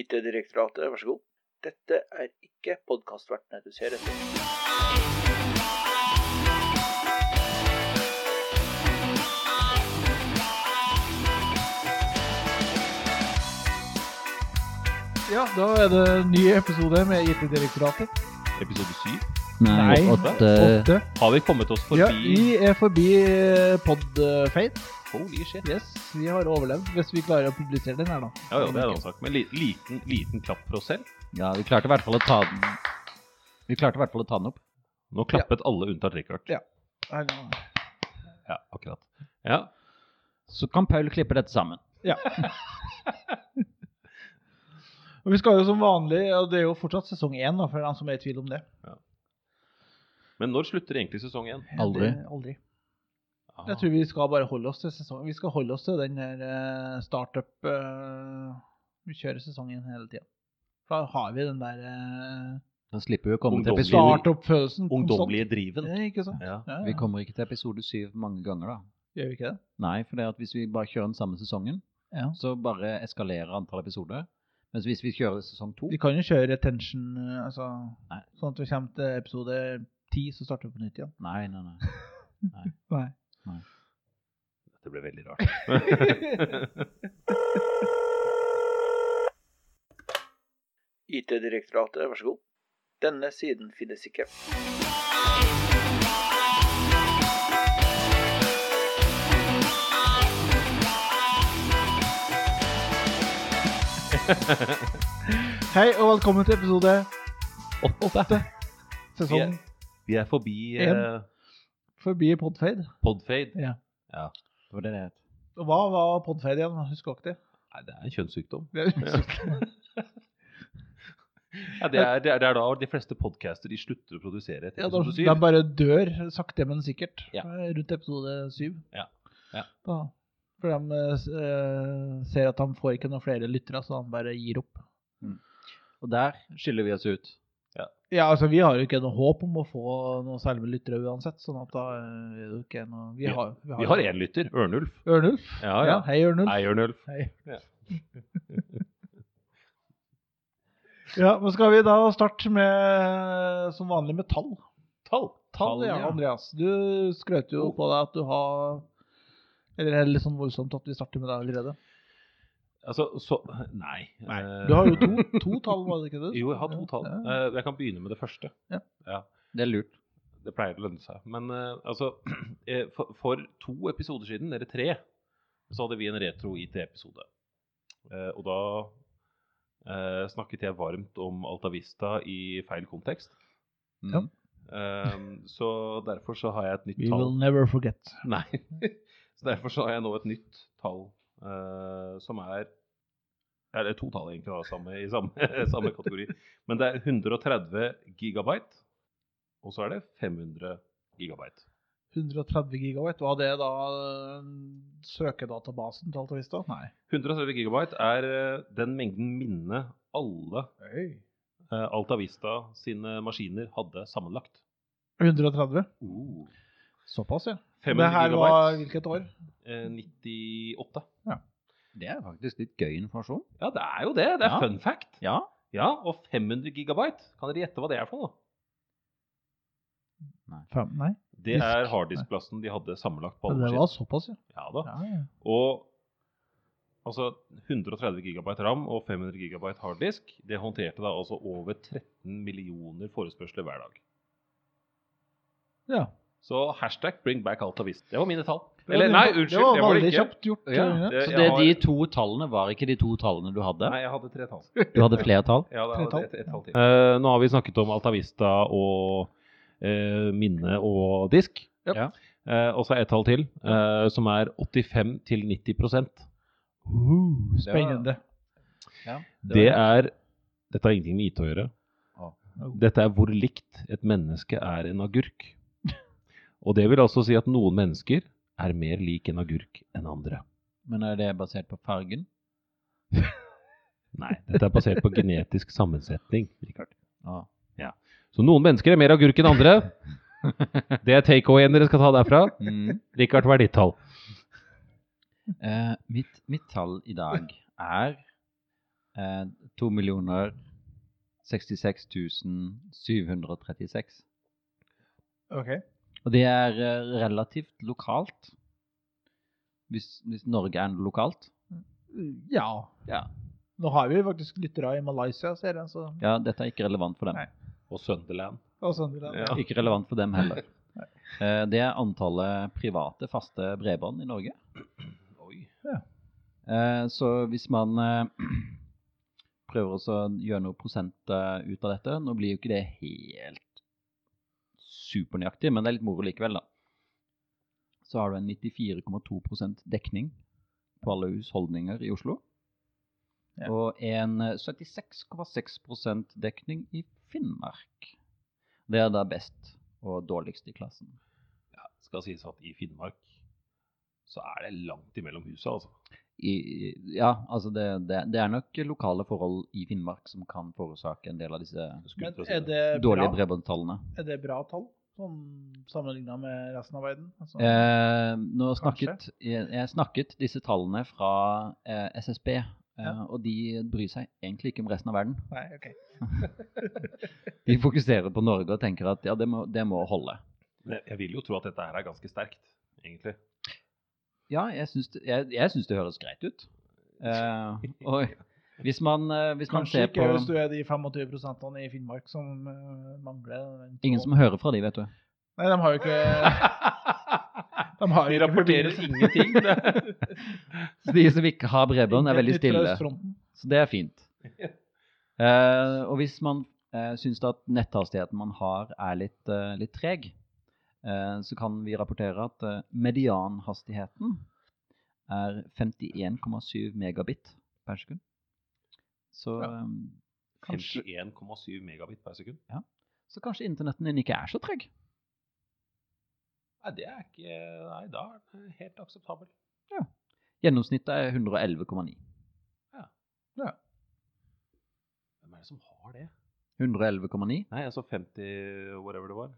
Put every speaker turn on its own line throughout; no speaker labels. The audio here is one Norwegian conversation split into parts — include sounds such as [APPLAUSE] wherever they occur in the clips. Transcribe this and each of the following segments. IT-direktoratet, vær så god. Dette er ikke podkastvertene du ser etter.
Ja, da er det en ny episode med IT-direktoratet.
Episode 7.
Nei,
åtte.
eh,
Åtte.
Har vi kommet oss Eh, forbi
Ja, vi er forbi podfade.
Holy shit.
Yes, vi har overlevd hvis vi klarer å publisere den her, da.
Ja, ja, det er en annen sak. Men li- liten, liten klapp for oss selv.
Ja, vi klarte i hvert fall å ta den Vi klarte i hvert fall å ta den opp.
Nå klappet alle unntatt Richard.
Ja. Her, da.
Ja, akkurat. Ja.
Så kan Paul klippe dette sammen.
Og vi skal jo som vanlig, og det er jo fortsatt sesong én, da, for dem som er i tvil om det.
Men når slutter egentlig sesong Ah, 1?
Aldri.
Det, aldri. Jeg tror vi skal bare holde oss til sesongen. Vi skal holde oss til den her eh, startup eh, Vi kjører sesongen hele tida. Da har vi den der eh,
Han slipper jo å komme til
Ungdomlig.
episode
startup-følelsen.
Ungdommelige driven.
konstant. Ja, ikke sant?
Ja.
Ja,
Vi
ja.
kommer ikke til episode syv mange ganger, da.
Gjør vi ikke det?
Nei, for det er at hvis vi bare kjører den samme sesongen,
Ja.
så bare eskalerer antall episoder. Mens hvis vi kjører sesong to
Vi kan jo kjøre retention, eh, altså,
Nei.
sånn at vi kommer til episode ti, så starter vi på
[LAUGHS]
nytt igjen.
Nei, nei, nei.
Nei.
Det ble veldig
[LAUGHS]
rart.
IT-direktoratet, vær så god. Denne siden finnes ikke.
Hei og velkommen til episode
Åtte.
sesong
Vi er forbi
En.
eh,
forbi Podfade.
podfade.
Det var det det het.
Og Hva var Podfade igjen? Husker ikke det.
Nei, det er en kjønnssykdom.
det er
[LAUGHS] Ja, det, er, det, er, det er da de fleste podcaster de slutter å produsere etter
Ja, de,
episode
de
7.
bare dør, sakte, men sikkert,
Ja.
eh, rundt episode syv.
Ja. Ja.
Da, for de eh, s- eh, ser at de får ikke noen flere lyttere, så de bare gir opp.
Og der skiller vi oss ut.
Ja, altså Vi har jo ikke noe håp om å få noen selve lyttere uansett. sånn at da eh, er det jo ikke noe... Vi
Ja.
har,
Vi har én lytter, Ørnulf.
Ørnulf.
Ja, ja.
Hei, Ørnulf.
Hei, Ørnulf.
Hei.
Ja.
Ja, men Skal vi da starte med som vanlig med tall?
Tall. Oh.
Tall, ja, Andreas. Du skrøt jo på deg at du har Eller det er litt sånn voldsomt at vi starter med deg allerede.
Altså, så Nei. Eh,
Du har jo
[LAUGHS]
to, to tall, var det ikke det?
Jo, jeg har to tall.
Ja, ja.
Eh, Jeg kan begynne med det første.
Ja.
Det er lurt.
Det pleier å lønne seg. Men eh, altså, [CLEARS THROAT] eh, for, for to episoder siden, eller tre, så hadde vi en retro-IT-episode. Eh, og da eh, snakket jeg varmt om Altavista i feil kontekst.
Mm.
Ja.
Eh, så derfor så har jeg et nytt
We will
tall.
never forget.
Nei. [LAUGHS] så derfor så har jeg nå et nytt tall eh, som er Eller to tall, egentlig, da, samme, i samme, [LAUGHS] samme kategori. Men det er 130 gigabyte, og så er det 500 gigabyte.
130 gigabyte, var det da eh, søkedatabasen til Altavista? Nei.
130 gigabyte er eh, den mengden minne alle eh, Altavista sine maskiner hadde sammenlagt.
130? Såpass, ja. Uh. Det
500
her var
gigabyte,
hvilket år?
eh, 98.
Det er faktisk litt gøy informasjon.
Ja, det er jo det. Det er
Ja.
fun fact.
Ja.
Ja, og 500 gigabyte. Kan dere gjette hva det er for noe?
Fem, nei,
Det
Disk.
er harddiskplassen de hadde sammenlagt på alle
det var
maskiner.
såpass, ja.
Ja, da.
ja, ja.
Og altså 130 gigabyte ram og 500 gigabyte harddisk, det håndterte da altså over 13 millioner forespørsler hver dag.
ja.
Så hashtag bring back Altavista. Det var mine tall.
Det var
Eller
din-
nei, unnskyld.
Det var
det var det
veldig
ikke.
kjapt gjort.
Ja,
Rune.
det-
Så
jeg
det,
har-
de to tallene var ikke de to tallene du hadde?
Nei, jeg hadde tre tall.
Du hadde flere tall?
Ja, det
Tre
var et, et, tall til. Eh, nå har vi snakket om Altavista og eh, minne og disk.
Japp.
Ja.
Eh, og så er et tall til, eh, som er 85-90
Uh, spennende.
Det er Dette har ingenting med IT å gjøre.
Ah.
Dette er hvor likt et menneske er en agurk. Og det vil altså si at noen mennesker er mer lik en agurk enn andre.
Men er det basert på fargen?
Nei, dette er basert på genetisk sammensetning. Richard.
Ja.
Så noen mennesker er mer agurk enn andre. Det er takeawayen dere skal ta derfra.
Mm.
Richard, hva er ditt tall?
Eh, mitt, mitt tall i dag er eh, 2 millioner 66 736.
OK.
Og det er eh, relativt lokalt. Hvis, hvis Norge er lokalt.
Ja.
Ja.
Nå har vi faktisk lyttere i Malaysia, ser jeg. Så.
ja, dette er ikke relevant for dem.
Nei.
Og Sunderland.
Og sånn vil jeg.
Ja.
[LAUGHS] Ikke relevant for dem heller. Eh, Det er antallet private faste bredbånd i Norge.
[CLEARS THROAT] Oi.
Eh, Så hvis man eh, [CLEARS THROAT] prøver også å gjøre noe prosent eh, ut av dette Nå blir jo ikke det helt supernøyaktig, men det er litt moro likevel, da. Så har du en 94,2 dekning på alle husholdninger i Oslo.
Ja.
Og en eh, 76,6 dekning i Finnmark. Det er da best og dårligst i klassen.
Ja, skal sies at i Finnmark så er det langt imellom husa, altså.
i, ja, altså det, det, det er nok lokale forhold i Finnmark som kan forårsake en del av disse
Skulle
Men
til å si
er
det.
det
dårlige
bra,
bredbåndstallene.
er det bra tall, sånn sammenligna med resten av verden? Altså,
Eh, nå
Kanskje.
snakket, jeg, jeg snakket disse tallene fra eh, SSB, eh,
Ja.
og de bryr seg egentlig ikke om resten av verden.
Nei, OK.
De fokuserer på Norge og tenker at ja, det må, det må holde.
Men Jeg jeg vil jo tro at dette her er ganske sterkt, egentlig.
Ja, jeg syns det, jeg, jeg syns det høres greit ut. Eh,
[LAUGHS]
og hvis man, eh, hvis man
Kanskje
ser
ikke
på
hvis du er de 25 i Finnmark som eh, mangler den
Ingen som hører fra de, vet du.
Nei, de har jo
[LAUGHS]
ikke De har
Vi
jo ikke
rapporterer
forbindelse.
ingenting. det-
Så de som ikke har bredbånd, er veldig
Litt fra
stille.
østfronten.
Så det er fint. Eh, og hvis man uh, syns at netthastigheten man har er litt, eh, litt treg, eh, så kan vi rapportere at eh, medianhastigheten er 51,7 megabit per sekund. Så,
Ja.
eh, kanskje,
51,7 megabit per sekund.
så kanskje internetten din ikke er så treg.
Nei, det er ikke Nei, da er det helt akseptabel.
Gjennomsnittet er 111,9.
Hvem er det som har det?
111,9?
Nei, altså 50 whatever det var.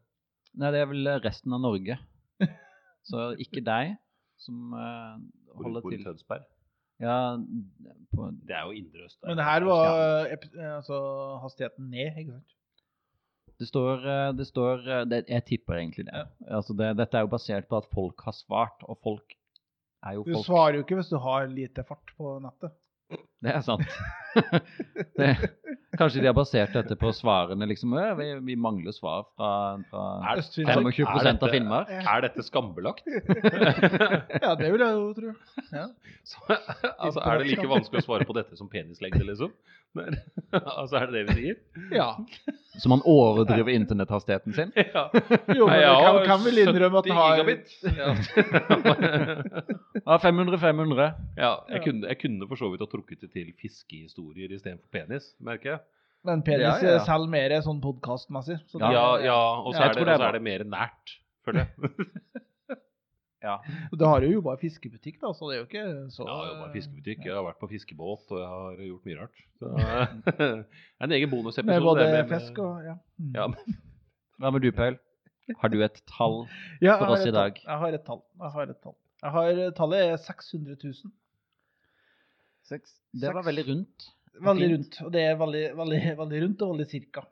Nei, det er vel resten av Norge. [LAUGHS] Så ikke deg som eh,
Hvor,
holder
hvor i
til
Tønsberg.
Ja, på,
Det er jo indre øst. der.
Men det her var ep- altså, hastigheten ned, ikke sant?
Det står, eh, det står eh, det, Jeg tipper egentlig det. Altså det. Dette er jo basert på at folk har svart, og folk er jo
Du
folk.
svarer jo ikke hvis du har lite fart på nettet.
Det er sant. [LAUGHS] det, kanskje de har basert dette på svarene, liksom. «Å, Vi, vi mangler svar fra, fra
Er det
Østfinnmark.
er
25 av
dette-
Finnmark.
Er dette skambelagt? [LAUGHS]
Ja, det vil jeg jo tro.
Så, altså, er det like vanskelig å svare på dette som penislengde, liksom? Men, [LAUGHS] altså, er det det vi sier?
Ja.
Så man overdriver internetthastigheten sin.
Ja.
Jo, men
Nei, jeg
jeg kan,
har
kan vel innrømme at den har
70 gigabit.
Ja, 500-500.
[LAUGHS] Ja, jeg kunne, jeg kunne for så vidt ha trukket det til fiskehistorier istedenfor penis, merker jeg.
Men penis
Ja, ja, ja.
selger mer sånn podkastmessig.
Ja, ja, og så er,
Jeg
det-
tror det er
og så
bra.
er det mer nært, føler jeg.
Du har jo jobba i fiskebutikk, da, så det er jo ikke så
Jeg har jobba i fiskebutikk, jeg har vært på fiskebåt, og jeg har gjort mye rart. [LAUGHS] Så, det er en egen bonusepisode.
Med både
det, men- eh,
fisk og Ja. Mm.
ja,
Hva med du, Paul? Har du et tall?
Ja, jeg
for
har
oss i
et tall.
dag.
Jeg har et tall. Jeg har et tall. Jeg har, tallet er 600 000.
Det var veldig rundt.
Veldig
Fint.
rundt. Og det er veldig, veldig, veldig rundt og veldig
[LAUGHS]
cirka.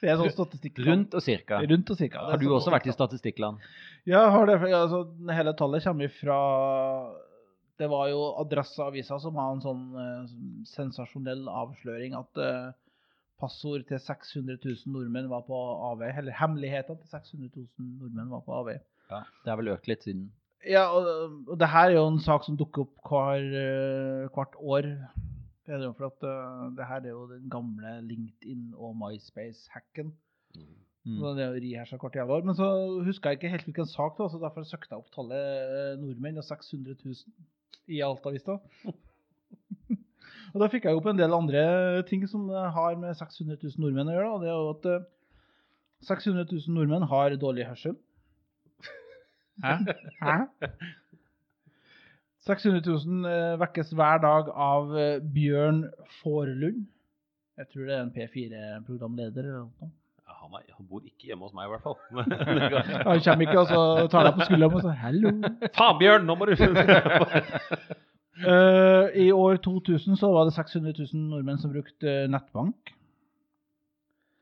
Det er sånn statistikk.
Rundt og cirka.
Rundt og cirka. Det er
Har du
sånn
også vært i
statistikk.
statistikkland?
Ja, jeg har det. for- Altså, hele tallet kommer fra Det var jo Adresseavisa som hadde en sånn eh, sensasjonell avsløring at eh, passord til 600 000 nordmenn var på avveie. Eller hemmeligheten til 600 000 nordmenn var på avveie.
Ja, det har vel økt litt siden.
Ja, og, og det her er jo en sak som dukker opp hver, eh, hvert år. Det er jo for at eh, det her er jo den gamle LinkedIn- og MySpace-hacken.
Mm.
Så Det er jo rihasja hvert jævla år. Men så husker jeg ikke helt hvilken sak det var, så derfor søkte jeg opp tallet eh, nordmenn og 600 000 i Altavista. [LAUGHS] og da fikk jeg jo opp en del andre ting som eh, har med 600 000 nordmenn å gjøre. da. Det er jo at eh, 600 000 nordmenn har dårlig hørsel. [LAUGHS] Hæ? 600 000 eh, vekkes hver dag av eh, Bjørn Forlund. Jeg tror det er en P4-programleder eller noe. sånt.
Ja, han, er, han bor ikke hjemme hos meg, i hvert fall. [LAUGHS]
Han
[LAUGHS]
kommer ikke og så tar deg på skulderen og så 'hallo'.
Faen, Bjørn, nå må du
Eh, I år 2000 så var det 600 000 nordmenn som brukte eh, nettbank.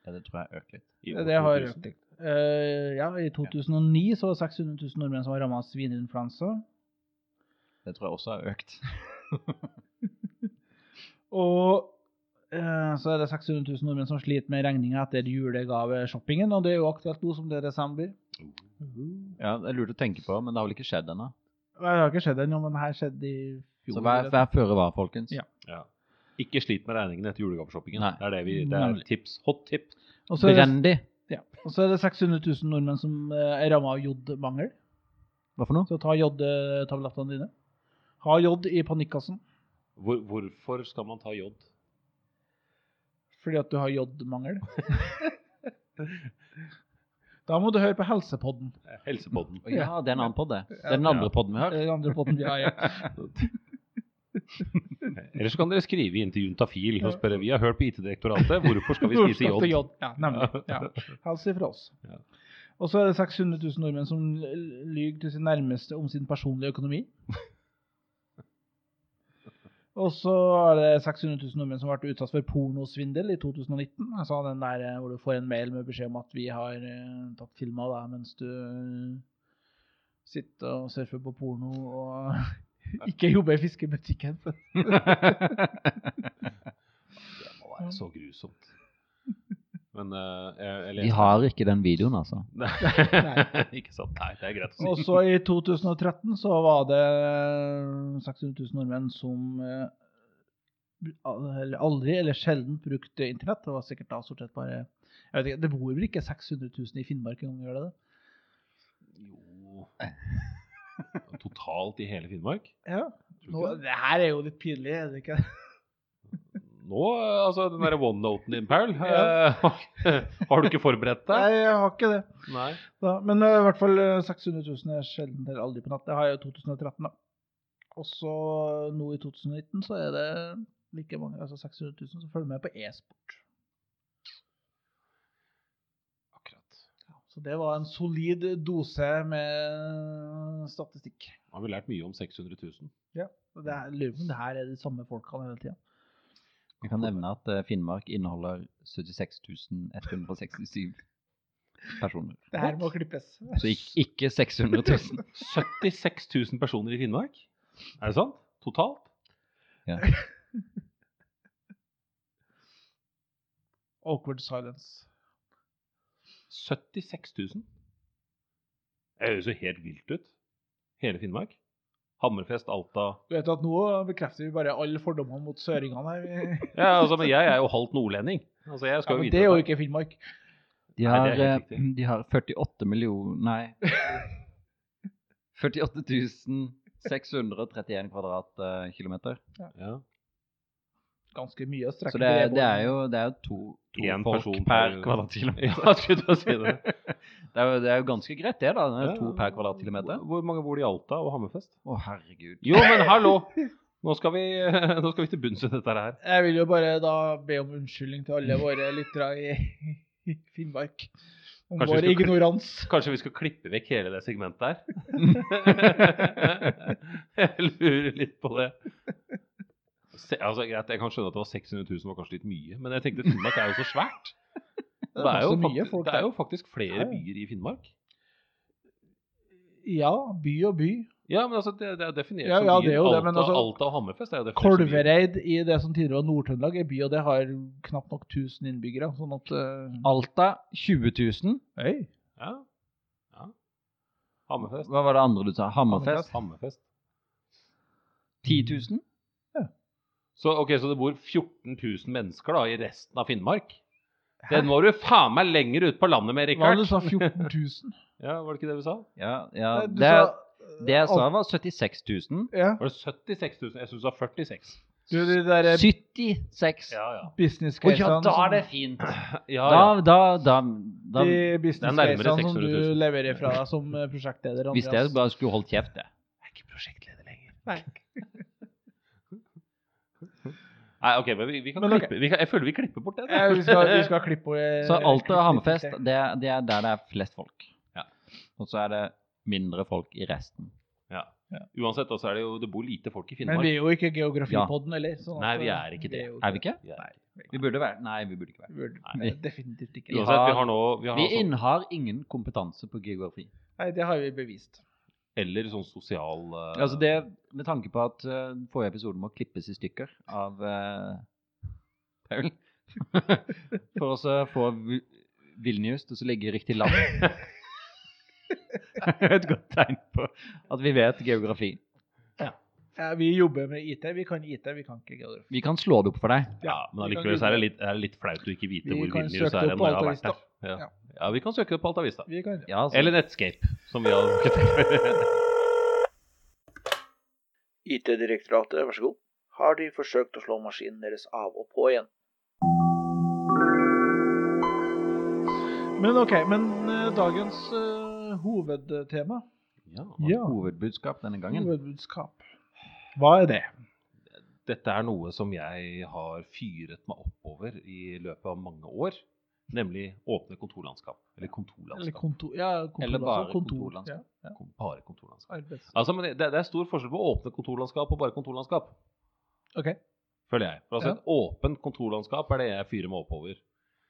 Ja, det tror jeg øker litt.
I år
Det har
2000.
økt litt. Eh, ja, I 2009 så var det 600 000 nordmenn som var ramma av svineinfluensa.
Det tror jeg også har økt.
Og eh, så er det 600 000 nordmenn som sliter med regninga etter julegaveshoppingen, og det er jo aktuelt nå som det er desember.
Uh-huh.
Ja, Det er lurt å tenke på, men det har vel ikke skjedd ennå.
Det har ikke skjedd ennå, men det her skjedde i fjor.
Så vær, vær føre var, folkens.
Ja.
Ja. Ikke slit med regningen etter julegaveshoppingen.
Nei.
Det er det vi, det er
Nemlig.
tips, hot tip.
og, så er det,
Brenn de.
ja. og så er det 600 000 nordmenn som eh, er ramma av jodmangel.
Hva for noe?
Så ta jodtablettene dine. Ha jod i panikkassen
Hvor, hvorfor skal man ta jod?
fordi at du har jodmangel. da må du høre på Helsepodden.
Eh, Helsepodden.
Å, Ja, det er en annen podd, det. Det er den andre podden vi har.
Den eh, andre podden vi har. Ja.
Eller så kan dere skrive inn til Juntafil og
Ja.
spørre vi har hørt på IT-direktoratet, hvorfor skal vi spise
Skal til
jod?
Ja,
[LAUGHS]
nemlig. Ja. Helse fra oss.
Ja.
Og så er det 600 000 nordmenn som l- lyver til sin nærmeste om sin personlige
[LAUGHS]
økonomi. Og så er det 600 000 nordmenn som har vært utsatt for pornosvindel i 2019. Altså den der eh, hvor du får en mail med beskjed om at vi har eh, tatt film av deg mens du eh, sitter og surfer på porno og [LAUGHS] ikke jobber i fiskebutikken.
Det må være så grusomt. Men eh, jeg, jeg
Vi har ikke den videoen, altså.
Nei. [LAUGHS] Ikke sant? Nei, det er greit å si.
Og så i 2013 så var det 600 000 nordmenn som eh, eller aldri eller sjelden brukte internett. Det var sikkert da stort sett bare jeg vet ikke, Det bor vel ikke 600 000 i Finnmark engang, gjør det det?
Jo Totalt i hele Finnmark?
Ja.
Tror du
Nå,
ikke det?
det her er jo litt pinlig, er det ikke?
Nå, eh, altså den derre one-noten din, Paul.
Ja.
eh, [LAUGHS] har du ikke forberedt
[LAUGHS] Nei,
deg?
jeg har ikke det.
Nei.
Da, men eh, i hvert fall eh, 600 000 er sjelden eller aldri på natt. Det har jeg i 2013, da. Og så eh, nå i 2019 så er det like mange, altså 600 000 som følger med på e-sport.
Akkurat.
Så det var en solid dose med statistikk.
Nå har vi lært mye om 600 000.
Og Det er, lurer på om det her er de samme folkene hele tida.
Vi kan nevne at eh, Finnmark inneholder 76 167 personer.
Det her må klippes.
Så ikke, ikke 600 000.
76 000 personer i Finnmark? Er det sant? Totalt?
Awkward silence.
76 000? Det høres jo helt vilt ut. Hele Finnmark. Hammerfest, Alta
Du vet at Nå bekrefter vi bare alle fordommene mot søringene her. Vi-
Ja, altså, Men jeg er jo halvt nordlending. Altså, jeg
Ja, [LAUGHS]
skal
men
jo
det er jo
vite
ikke Finnmark.
De
Nei,
har,
det er helt
eh,
riktig.
de har 48 millioner Nei. 48 631 eh, kvadratkilometer.
dette. Ja.
Ganske mye å strekke
Så det er,
på.
det er jo, det er jo to, to
En
folk
person
per
per-
kvadratkilometer.
[LAUGHS] Ja, skulle til å si [LAUGHS] det.
[LAUGHS] Det er, jo, det er jo ganske greit, det, da. Det er
Ja.
to per kvadratkilometer.
Hvor mange bor det i Alta og Hammerfest?
Å, herregud.
Jo, men hallo! Nå skal vi, [LAUGHS] nå skal vi til bunns i dette her.
Jeg vil jo bare da be om unnskyldning til alle våre lyttere i, [LAUGHS] i Finnmark om
Kanskje vi
vår
skulle kli-
ignorans.
Kanskje vi skal klippe vekk hele det
[LAUGHS]
segmentet her? Jeg lurer litt på det. Se, altså, greit, Jeg kan skjønne at det var 600 000 var kanskje litt mye, men jeg tenkte Finnmark er jo så
[LAUGHS]
svært. Det er jo,
passer mye
faktisk,
folk
det er
der.
jo faktisk
Ja,
flere
ja.
byer i Finnmark.
Ja, by og by.
Ja, men altså, det, det er definert
Ja,
som
ja,
byer.
det er jo det,
Alta,
men altså,
Alta og Hammerfest er jo definert som byer.
Kolvereid i det som tidligere var Nord-Trøndelag, er by, og det har knapt nok 1000 innbyggere. Sånn at eh,
Alta 20 000.
Hei.
Ja. ja. Hammerfest.
Hva var det andre du sa? Hammerfest?
Hammerfest.
10 000?
Så, ok, så det bor 14 000 mennesker da, i resten av Finnmark? Den må du faen meg lenger ut på landet med,
Hva var
Rikard.
det du sa? 14 000?
Ja, var det ikke det vi sa?
Ja, [LAUGHS] ja.
Nei, du
Det,
sa,
det jeg sa,
alt-
var 76 000.
ja.
Var det 76 000? Jeg syns du sa 46.
Du, de der eh,
76 000.
Ja, ja.
Å
business-casene
ja, da
sånn som-
er det fint.
ja, ja.
Da, da, da, da
de
nærmere
business-casene som
600
du
000.
leverer fra deg som eh, prosjektleder.
Hvis jeg
Andreas.
bare skulle holdt kjeft, det.
Jeg er ikke prosjektleder lenger. Nei. ok, men vi, vi kan
Men ok.
klippe. Vi kan, jeg føler vi klipper bort det. da.
Ja, vi, skal, vi skal klippe eh,
Så Alta
klippe [LAUGHS]
og Hammerfest,
litt.
det, det er der det er flest folk.
Ja.
Og så er det mindre folk i resten.
[LAUGHS] Ja. Uansett, da, så er det jo Det bor lite folk i
Men
Finnmark.
vi er jo ikke geografipodden, eller? sånn at-
Nei, vi er ikke det.
jo
Er vi ikke?
Vi er-
Vi burde være Nei, vi burde ikke være
Vi burde-
Nei.
Nei, definitivt ikke.
Jo.
Uansett, vi
har-
har nå vi har
Vi
altså-
innehar ingen kompetanse på geografi.
Nei, det har vi bevist.
Eller sånn sosial eh,
Altså det, Med tanke på at eh, forrige episode må klippes i stykker av eh, Paul [LAUGHS] For også å få Vi- Vilnius til å ligge i riktig [LAUGHS] land. Et godt tegn på at vi vet geografi.
Ja, vi jobber med IT. Vi kan IT, vi kan ikke geografi.
Vi kan slå det opp for deg.
Ja, men allikevel så er det litt, er det litt flaut å ikke vite
Vi
hvor
kan
Vilnius
søke
er
opp
når jeg har
Altavista.
vært der. Ja.
Ja.
ja, vi kan søke det på Altavista.
Vi kan
Ja, altså.
Eller Netscape, som vi har
[LAUGHS]
brukt før.
IT-direktoratet, vær så god. Har de forsøkt å slå maskinen deres av og på igjen?
Men ok, men eh, dagens eh, hovedtema,
ja.
Ja.
Hovedbudskap denne gangen.
hovedbudskap, hva er det?
Dette er noe som jeg har fyret meg oppover i løpet av mange år. Nemlig åpne kontorlandskap. Eller
Eller
kontorlandskap.
kontor, ja, kontor,
Eller bare
altså, kontor,
kontorlandskap.
Ja, ja.
Kom- Bare kontorlandskap.
Arbeids...
Altså, men det, det er stor forskjell på åpne kontorlandskap og bare kontorlandskap,
Ok,
føler jeg. For
Ja.
altså, Et åpent kontorlandskap er det jeg fyrer meg oppover.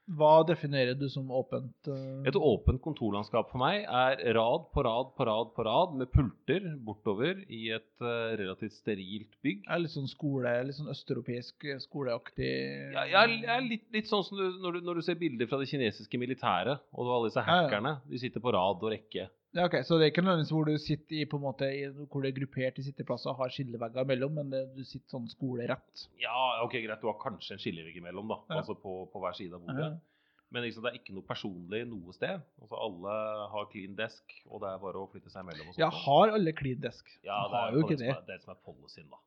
hva definerer du som åpent? eh,
Et åpent kontorlandskap for meg er rad på rad på rad på rad med pulter bortover i et eh, relativt sterilt bygg.
er litt sånn skole, litt sånn østeuropeisk eh, skoleaktig
Ja, jeg jeg er litt, litt sånn som du, når, du, når du ser bilder fra det kinesiske militæret og alle disse
ja.
hackerne. De sitter på rad og rekke.
Ja, ok, Så det er ikke nødvendigvis hvor du sitter i, på en måte, i, hvor det er gruppert i sitteplasser og har skillevegger imellom, men det, du sitter sånn skolerett.
Ja, ok, greit, du har kanskje en skillevegg imellom, da.
Ja.
Altså på, på hver side av bordet.
Ja.
Men liksom, det er ikke noe personlig noe sted. Altså, alle har clean desk, og det er bare å flytte seg imellom. Og sånt.
Ja, har alle clean desk?
ja,
De
det
har
er
jo
på
ikke
det.
det.
Som er, det som er policyen, da.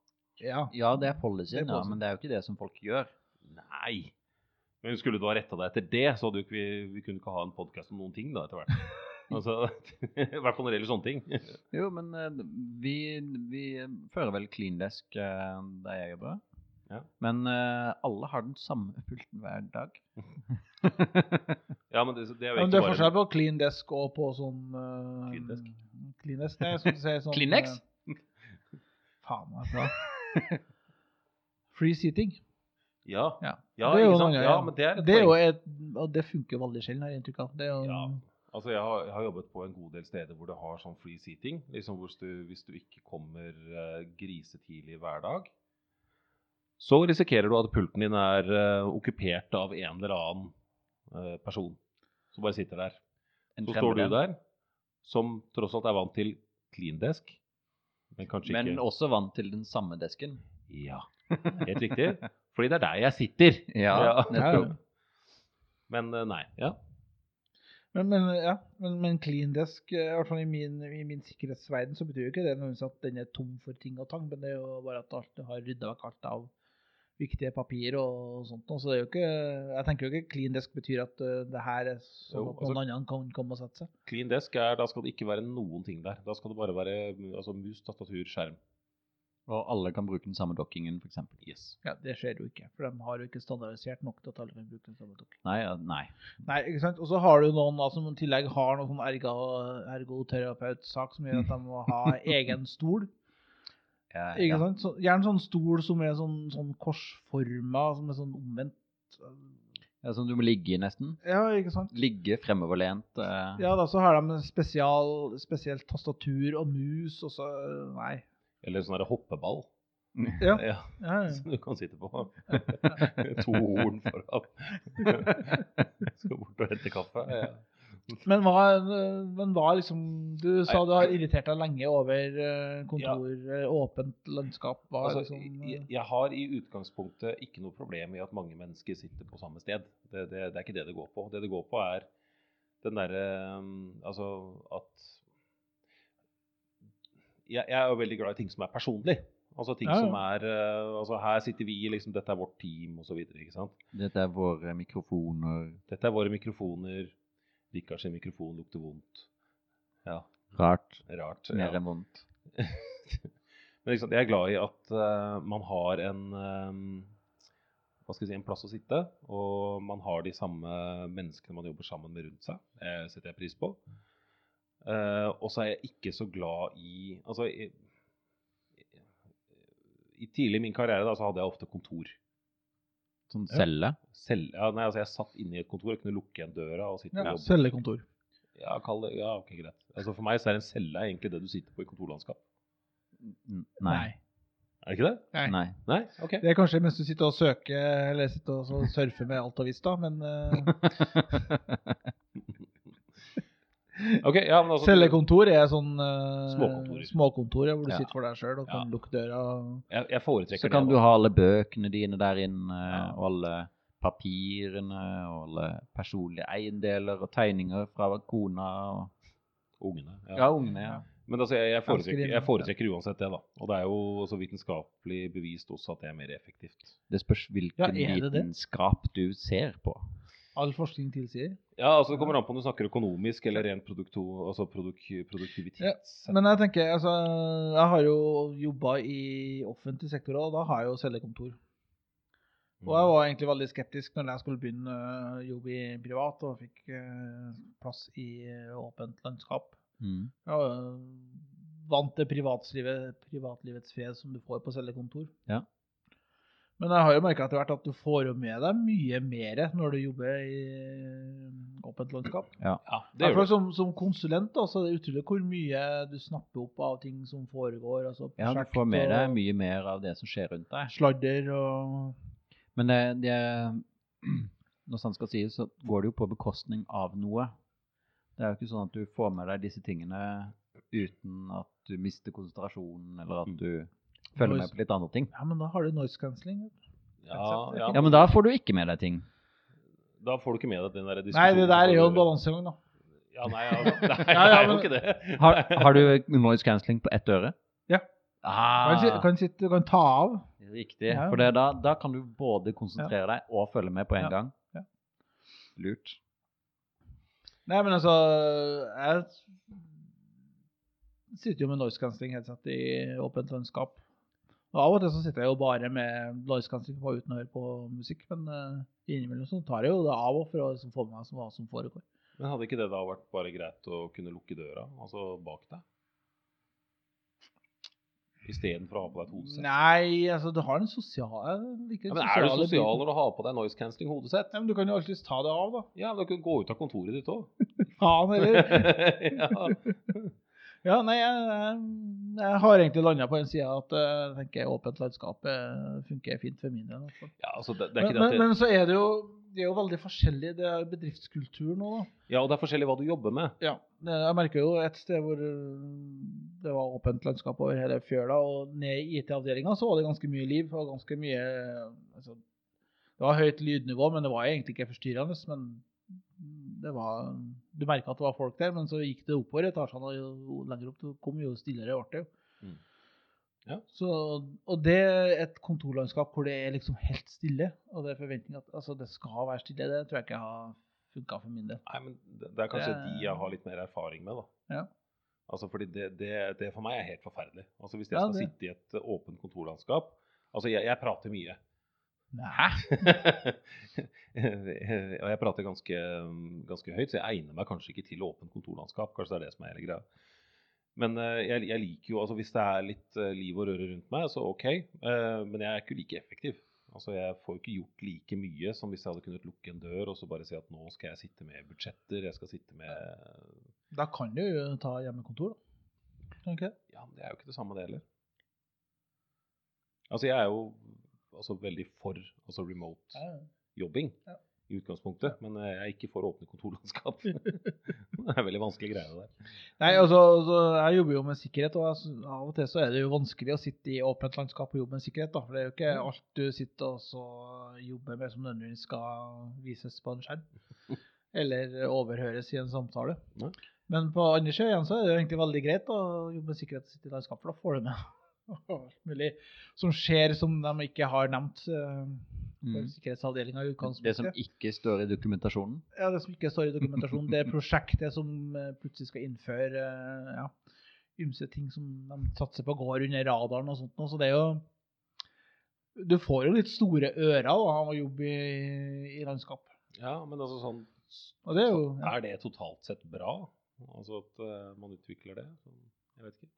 Ja.
Ja, det er policyen,
Det er
ja,
policyen.
men det er jo ikke det som folk gjør.
Nei. Men skulle du ha retta deg etter det, så hadde jo ikke vi, vi kunne ikke ha en podkast om noen ting da, etter hvert.
[LAUGHS]
Altså, [LAUGHS] I hvert fall når det gjelder sånne ting.
Jo, men eh, vi, vi fører vel clean desk eh, der jeg jobber.
Ja.
Men eh, alle har den samme pulten hver dag.
Ja, men det, det er jo
Men det
egentlig
er
bare
forskjell på clean desk og på sånn eh,
Clean desk?
Clean desk, nei, jeg skulle si sånn
Kleenex?
eh, faen, hva er det da? [LAUGHS] Free seating.
Ja,
Ja.
ja,
det er jo
ikke sant?
noe,
ja, men det er et
Det er jo
poeng.
et, og det funker veldig sjelden, har jeg inntrykk av. Det er jo,
Ja. Altså, jeg har, jeg har jobbet på en god del steder hvor det har sånn free seating. Liksom hvor du, hvis du ikke kommer eh, grisetidlig hver dag, så risikerer du at pulten din er eh, okkupert av en eller annen eh, person som bare sitter der.
En
Så står du
fremmed en,
der, som tross alt er vant til clean desk, men kanskje
Men
ikke
også vant til den samme desken.
Ja, helt riktig. Fordi det er der jeg sitter.
Ja, nettopp.
Men eh, nei. Ja.
men, men, ja, men, men clean desk, eh, i hvert fall i min, i min sikkerhetsverden, så betyr jo ikke det nødvendigvis at den er tom for ting og tang, men det er jo bare at alt har rydda vekk alt av viktige papir og sånt. noe, Så det er jo ikke, jeg tenker jo ikke clean desk betyr at eh, det her er sånn
Jo,
at noen
altså-
andre kan komme og sette seg.
Clean desk er Da skal det ikke være noen ting der. Da skal det bare være altså, mus, tastatur, skjerm.
Og alle kan bruke den samme dokkingen, f.eks. Yes.
Ja, det skjer jo ikke, for de har jo ikke standardisert nok til at alle kan bruke den samme dokken.
Nei, ja, nei.
Nei, ikke sant? Og så har du noen da, som i tillegg har noen sånn ergo- ergoterapeutsak som gjør at de må
[LAUGHS]
ha egen stol.
Eh,
Ikke
ja.
sant? Så, gjerne sånn stol som er sånn, sånn korsforma, som er sånn omvendt.
Ja, sånn du må ligge i nesten.
Ja, ikke sant?
Ligge fremoverlent. eh.
Ja, da så har de spesial, spesielt tastatur og mus, og så Nei.
Eller en sånn der hoppeball.
Ja.
Ja, [LAUGHS]
Ja, ja.
Som du kan sitte på. to horn foran. [LAUGHS] Skal bort og hente kaffe. Ja.
Men hva, men hva liksom Du sa du har irritert deg lenge over eh, kontor, eh, åpent landskap. Hva er
Altså,
liksom
jeg, jeg har i utgangspunktet ikke noe problem med at mange mennesker sitter på samme sted. Det, det, det er ikke det det går på. Det det går på, er den derre um, Altså at jeg, jeg er jo veldig glad i ting som er personlig. Altså ting
Ja, ja.
som er uh, Altså her sitter vi, liksom, dette er vårt team, osv. Ikke sant.
[LAUGHS] Dette er våre mikrofoner.
Dette er våre mikrofoner. Rikard sin mikrofon lukter vondt. Ja,
Rart.
rart.
Mer
Ja.
enn vondt.
Men ikke sant, jeg er glad i at eh, man har en eh, hva skal jeg si, en plass å sitte, og man har de samme menneskene man jobber sammen med rundt seg. Det setter jeg pris på. Eh, og så er jeg ikke så glad i Altså, jeg, i tidlig i min karriere da, så hadde jeg ofte kontor.
Sånn
Ja.
celle.
Selv, ja, nei, altså jeg satt inne i et kontor og kunne lukke igjen døra og sitte
Ja,
og jobbe.
Cellekontor.
Ja, kall det, ja, ok, greit. Altså For meg så er en celle egentlig det du sitter på i kontorlandskap.
N- Nei.
Er det ikke det?
Nei.
Nei.
Nei? Ok.
Det er kanskje mens du sitter og søker eller sitter og så surfer med alt og visst, da, men eh,
Ok, ja, men altså,
cellekontor er sånn eh,
Småkontorer.
småkontor, ja, hvor du
Ja.
sitter for deg sjøl og kan
Ja.
lukke døra.
Jeg, jeg foretrekker
Så kan
det.
du
da.
ha alle bøkene dine der inne,
Ja.
og alle papirene, og alle personlige eiendeler og tegninger fra kona og
Ungene. Ja.
Ja, ungene, ja.
Men altså, jeg, jeg, foretrekker,
Skriving.
jeg foretrekker uansett det, da. Og det er jo også vitenskapelig bevist også at det er mer effektivt.
Det spørs hvilken
Ja, er det det?
vitenskap du ser på.
All forskning tilsier.
Ja, altså Det kommer an på om du snakker økonomisk eller rent produkto, altså produk, produktivitets...
Men jeg tenker, altså, jeg har jo jobba i offentlig sektor, og da har jeg jo cellekontor.
Mm.
Og jeg var egentlig veldig skeptisk når jeg skulle begynne øh, jobb i privat og fikk øh, plass i øh, åpent landskap.
Mm.
Jeg var øh, vant til privatlivet, privatlivets fred som du får på cellekontor.
Ja.
Men jeg har jo merka etter hvert at du får jo med deg mye mer når du jobber i øh, åpent landskap.
Ja, det
Det
gjør du.
som, som konsulent da, så er det utrolig hvor mye du snapper opp av ting som foregår. Altså
Ja, du
prosjekt
får med deg
og
mye mer av det som skjer rundt deg.
Sladder og
Men det, det [CLEARS THROAT] Når sant skal sies, så går det jo på bekostning av noe. Det er jo ikke sånn at du får med deg disse tingene uten at du mister konsentrasjonen, eller at
Mm.
du følger med på litt andre ting.
Ja, men da har du noise cancelling.
Ja, ja.
Ja, men da får du ikke med deg ting.
Da får du ikke med deg den der
Nei,
diskusjonen.
det der er jo en
som-
balansegang, da.
Ja, nei, altså, nei,
Ja, ja,
det er jo
men-
ikke det.
Har, har du noise cancelling på ett øre?
Ja.
Ah,
Kan si- Kan sitte, du kan ta av.
Riktig.
Ja.
For det, er da, da kan du både konsentrere deg og følge med på en
Ja.
gang.
Ja.
Lurt.
Nei, men altså Jeg sitter jo med noise cancelling headset i åpent landskap. Og Av og til så sitter jeg jo bare med noise cancelling på uten å høre på musikk, men eh, innimellom så tar jeg jo det av og for å liksom få med meg hva som foregår.
[LAUGHS] Men hadde ikke det da vært bare greit å kunne lukke døra, altså bak deg? Istedenfor å ha på deg et hodesett?
Nei, altså du har en sosial eh, jeg liker
Ja, men er du
sosiale
sosial
biten.
når du har på deg noise cancelling hodesett?
Ja, men du kan jo alltids ta det av, da.
Ja, men du kan gå ut av kontoret ditt òg.
Faen
[LAUGHS]
heller.
ja.
Ja, nei, jeg, jeg, jeg har egentlig landa på den sida at eh, jeg tenker åpent landskap eh, funker fint for min del. i hvert fall.
ja, altså det, det er
Men,
ikke det
men,
at det
men så er det jo det er jo veldig forskjellig. Det er bedriftskultur nå, da.
Ja, og det er forskjellig hva du jobber med.
Ja, det- jeg merker jo et sted hvor øh, det var åpent landskap over hele fjøla, og ned i IT-avdelinga så var det ganske mye liv og ganske mye altså, Det var høyt lydnivå, men det var egentlig ikke forstyrrende. Men det var Du merka at det var folk der, men så gikk det oppover i etasjene, og jo lenger opp du kom, jo stillere ble det. jo.
Mm. Ja.
Så, og det er et kontorlandskap hvor det er liksom helt stille. Og det er forventning at altså, det skal være stille. Det tror jeg ikke har funka for min del.
Nei, men det, det er kanskje
Det-
de jeg har litt mer erfaring med, da.
Ja.
Altså, fordi det, det, det for meg er helt forferdelig. Altså, Hvis jeg
Ja,
skal
det-
sitte i et eh, åpent kontorlandskap Altså, jeg, jeg prater mye.
Nei.
og jeg prater ganske, ganske høyt, så jeg egner meg kanskje ikke til åpent kontorlandskap. Kanskje det er det som er hele greia. Men eh, jeg, jeg liker jo altså Hvis det er litt eh, liv og røre rundt meg, så OK. eh, men jeg er ikke like effektiv. Altså Jeg får jo ikke gjort like mye som hvis jeg hadde kunnet lukke en dør og så bare si at nå skal jeg sitte med budsjetter, jeg skal sitte med
Da kan du jo ta hjemmekontor, da. Kan du ikke det?
Ja, men det er jo ikke det samme, det heller. Altså, jeg er jo altså, veldig for altså, remote jobbing
Ja.
i utgangspunktet, men eh, jeg er ikke for åpne
[LAUGHS]
kontorlandskap. det er veldig vanskelig greie det der.
Nei, altså, altså, jeg jobber jo med sikkerhet, og jeg sy- av og til så er det jo vanskelig å sitte i åpent landskap og jobbe med sikkerhet, da. For det er jo ikke
Mm.
alt du sitter og så jobber med som nødvendigvis skal vises på en skjerm.
[LAUGHS]
Eller overhøres i en samtale.
Nei.
Men på andre siden igjen så er det jo egentlig veldig greit å jobbe med sikkerhet og sitte i landskap, for da får du med [LAUGHS] alt mulig som skjer som de ikke har nevnt eh, for
Mm.
sikkerhetsavdelinga i
Det som
utgangspunktet.
ikke står i dokumentasjonen.
Ja, det som ikke står i dokumentasjonen. Det er prosjektet som eh, plutselig skal innføre eh, ja, ymse ting som de satser på går under radaren og sånt. nå, Så det er jo Du får jo litt store ører da, av å jobbe i, i landskap.
Ja, men altså sånn
Og det er jo ja.
Er det totalt sett bra? Altså at eh, man utvikler det? Sånn, Jeg vet ikke.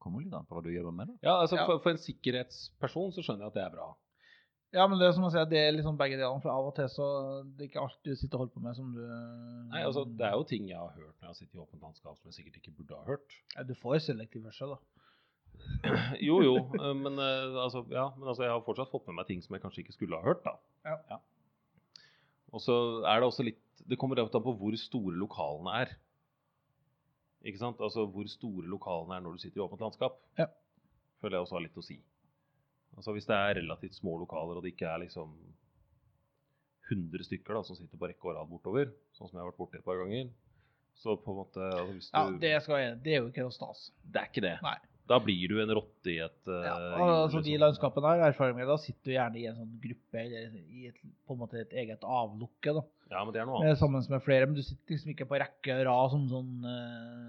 kommer litt an på hva du jobber med. da.
Ja, altså
Ja.
For, for en sikkerhetsperson så skjønner jeg at det er bra.
Ja, men det er som å si at det er liksom begge delene, for av og til så det er ikke alt du sitter og holder på med som du
Nei, altså
Mm.
Det er jo ting jeg har hørt når jeg har sittet i åpent landskap som jeg sikkert ikke burde ha hørt.
Ja, Du får jo selektiv hørsel, da.
Jo jo, eh, men, eh, altså, ja, men altså, jeg har fortsatt fått med meg ting som jeg kanskje ikke skulle ha hørt. da.
Ja.
Og så er det også litt Det kommer litt an på hvor store lokalene er. Ikke sant? Altså hvor store lokalene er når du sitter i åpent landskap.
Ja.
Føler jeg også har litt å si. Altså Hvis det er relativt små lokaler, og det ikke er liksom 100 stykker da, som sitter på rekke og rad bortover, sånn som jeg har vært borti et par ganger, så på en måte altså, hvis du,
Ja, det, skal jeg, det er jo ikke noe stas.
det er ikke det.
Nei.
Da blir du en rotte i et eh,
Ja,
hjul,
altså De
liksom.
landskapene her, erfaring med, da sitter du gjerne i en sånn gruppe eller i et, på en måte et eget avlukke. da,
Ja, men det er noe
eh,
annet.
Sammen med flere, men du sitter liksom ikke på rekke og rad som sånn eh,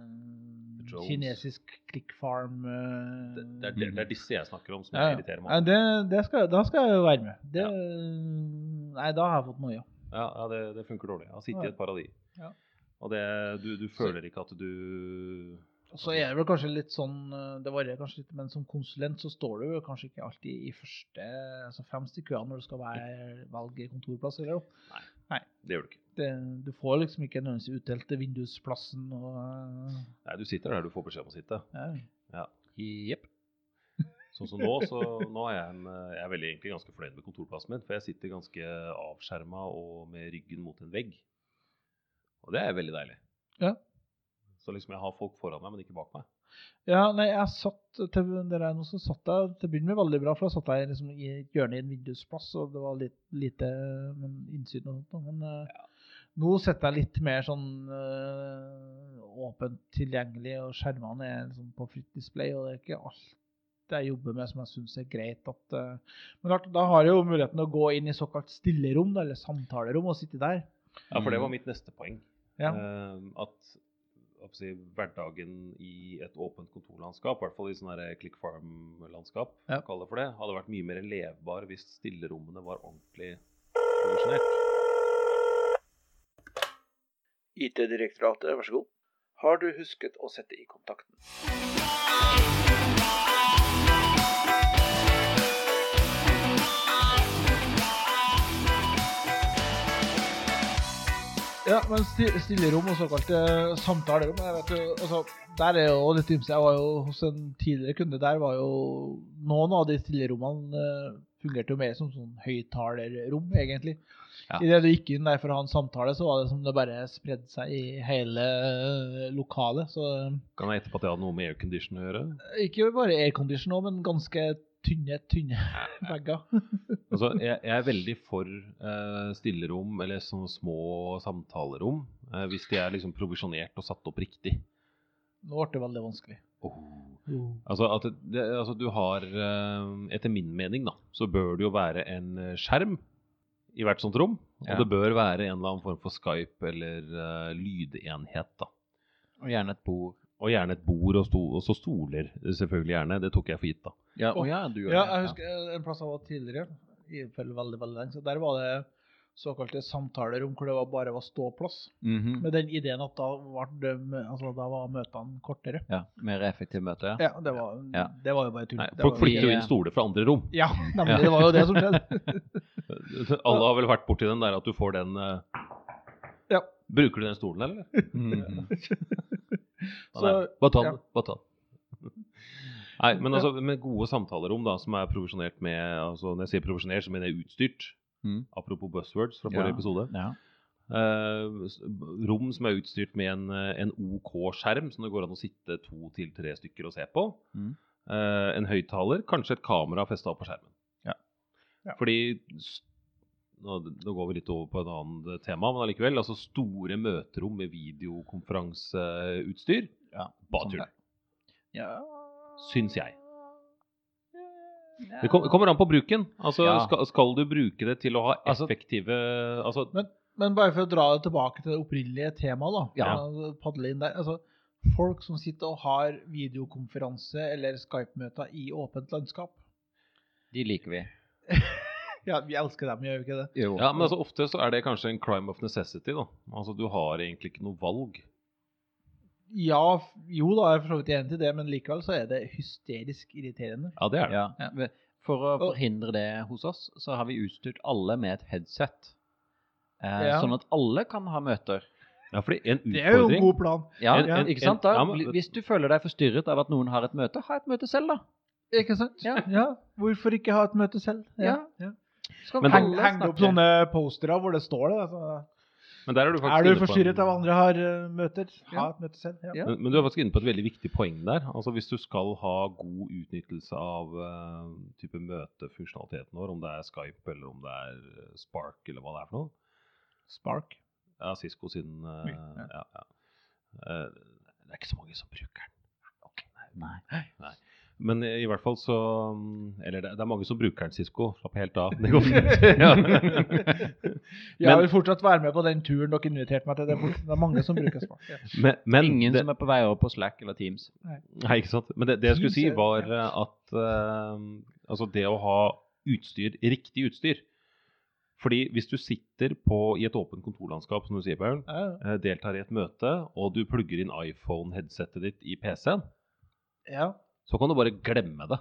Jones.
kinesisk click farm. eh.
Det, det, er, det, det er disse jeg snakker om som
Ja, ja.
jeg irriterer
Ja,
meg.
det, det skal, da skal jeg jo være med. Det, eh,
Ja.
Nei, da har jeg fått noia.
Ja, ja det, det funker dårlig. Jeg har sittet i et par av de.
Ja.
Og det, du, du føler ikke at du
Så er det vel kanskje litt sånn eh, Det varierer kanskje litt, men som konsulent så står du jo kanskje ikke alltid i første, altså fremst i køen når du skal være, velge kontorplass. eller noe.
Det gjør du ikke.
Det, du får liksom ikke nødvendigvis utdelt til vindusplassen og eh,
Nei, du sitter der du får beskjed om å sitte.
ja.
Jepp.
Sånn som nå, så
[LAUGHS]
nå er jeg, en, eh, jeg er veldig, egentlig ganske fornøyd med kontorplassen min. For jeg sitter ganske avskjerma og med ryggen mot en vegg. Og det er veldig deilig.
Ja.
Så liksom jeg har folk foran meg, men ikke bak meg.
ja, nei, jeg satt til dere er noe som satt der, til å begynne med veldig bra, for da satt jeg liksom i et hjørne i en vindusplass, og det var litt lite men, innsyn og sånt. da, Men eh, nå sitter jeg litt mer sånn eh, åpent tilgjengelig, og skjermene er liksom på fritt display, og det er ikke alt jeg jobber med som jeg syns er greit. At, eh, men klart, da har jeg jo muligheten å gå inn i såkalt stillerom, da, eller samtalerom, og sitte der.
Ja, for
Mm.
det var mitt neste poeng.
Ja.
Eh, at hva skal jeg si, hverdagen i et åpent kontorlandskap, i hvert fall i sånn her Click Farm-landskap,
Ja.
kall det for det, hadde vært mye mer levbar hvis stillerommene var ordentlig produksjonert.
IT-direktoratet, vær så god. Har du husket å sette i kontakten?
Ja, men sti- stillerom og såkalte samtalerom jeg vet jo, altså, Der er jo litt ymse. Jeg var jo hos en tidligere kunde. Der var jo Noen av de stillerommene eh, fungerte jo mer som sånn høyttalerrom, egentlig.
Ja.
Idet du gikk inn der for å ha en samtale, så var det som det bare spredde seg i hele eh, lokalet. Så
Kan jeg gjette på at det hadde noe med aircondition å gjøre?
eh, ikke bare aircondition òg, men ganske tynne, tynne [LAUGHS] vegger.
Altså, jeg, jeg er veldig for eh, stillerom, eller sånne små samtalerom, eh, hvis de er liksom provisjonert og satt opp riktig.
Nå ble det veldig vanskelig.
Altså, at det, altså du har eh, Etter min mening, da, så bør det jo være en eh, skjerm i hvert sånt rom.
Ja.
Og det bør være en eller annen form for Skype eller eh, lydenhet, da.
Og gjerne et bord.
Og gjerne et bord, og, sto, og så stoler, eh, selvfølgelig gjerne. Det tok jeg for gitt, da.
Ja,
Å,
å ja, du gjør
Ja,
det.
jeg husker eh, en plass jeg var tidligere, i for veldig, veldig lenge, så der var det såkalte samtalerom hvor det var bare var ståplass.
Mhm.
Med den ideen at da var, det, mø- altså, da var møtene kortere.
ja. Mer effektivt møte, ja.
Ja, det var,
Ja.
Det var jo bare tull.
Nei,
Det
folk
var
flytter
ikke-
jo inn stoler fra andre rom.
Ja, nemlig. Det var jo det som skjedde.
Alle har vel vært borti den der at du får den eh,
Ja.
Bruker du den stolen, eller? [LAUGHS]
Mhm.
Ja,
Så,
nei, Bare ta
ja.
den. Bare ta den. [LAUGHS] Nei, men altså, med gode samtalerom da, som er provisjonert med altså Når jeg sier provisjonert, så mener jeg utstyrt.
Mm.
Apropos buzzwords fra forrige
Ja.
episode.
ja.
Eh, s- rom som er utstyrt med en, eh, en OK-skjerm, som det går an å sitte to til tre stykker og se på.
Mm.
Eh, en høyttaler, kanskje et kamera festa på skjermen.
Ja.
Ja.
Fordi s- nå, nå går vi litt over på et annet tema, men allikevel. Altså store møterom med videokonferanseutstyr.
Ja,
Bare
sånn
tull.
det. ja.
Syns jeg. Det kom, kommer an på bruken. Altså,
Ja.
skal, skal du bruke det til å ha
Altså-
effektive altså,
Men- men bare for å dra det tilbake til det opprinnelige temaet, da.
Ja.
altså, Padle inn der. Altså, folk som sitter og har videokonferanse eller Skype-møter i åpent landskap.
De liker vi.
Ja, vi elsker dem, gjør vi ikke det?
Jo.
Ja, men altså, ofte så er det kanskje en crime of necessity. da Altså, Du har egentlig ikke noe valg.
Ja, f- jo da, jeg er for så vidt enig i det, men likevel så er det hysterisk irriterende.
Ja, det er det.
Ja. For å
Og-
forhindre det hos oss, så har vi utstyrt alle med et headset. Eh,
Ja.
Sånn at alle kan ha møter.
Ja, fordi en
Det er jo en
utfordring
god plan.
Ja,
En- en-
ikke sant?
en-
Da,
ja, men-
hvis du føler deg forstyrret av at noen har et møte, ha et møte selv, da.
Ikke sant?
Ja.
Hvorfor ikke ha et møte selv?
Ja. Så kan
Men-
Heng,
alle
heng opp
sånn-
snakke.
sånne postere hvor det står det. Altså.
Men der er du faktisk
Er du
inne på en-
forstyrret av andre har eh, møter? Ha
Ja.
et møte selv.
Ja.
Men, men du er faktisk inne på et veldig viktig poeng der. Altså Hvis du skal ha god utnyttelse av eh, type møtefunksjonaliteten vår, om det er Skype eller om det er eh, Spark eller hva det er for noe
Spark.
Ja, Cisco sin eh,
Mye, ja.
ja, ja. Eh, Det er ikke så mange som bruker den. Ok, nei, nei. nei. Men eh, i hvert fall så mm, Eller det, det er mange som bruker den, Cisco. Slapp helt av. Det
[LAUGHS]
går fint. Ja.
Jeg
Men-
vil fortsatt være med på den turen dere inviterte meg til. Det er, fort, det er mange som bruker Spark. Ja.
[LAUGHS] Men, men
Ingen
det-
som er på vei over på Slack eller Teams.
Nei, ikke sant. Men det, det jeg skulle si,
Teams er-
var eh, at eh, altså det å ha utstyr, riktig utstyr Fordi hvis du sitter på, i et åpent kontorlandskap, som du sier, Paul,
Ja,
eh, deltar i et møte, og du plugger inn iPhone-headsetet ditt i PC-en,
Ja.
så kan du bare glemme det.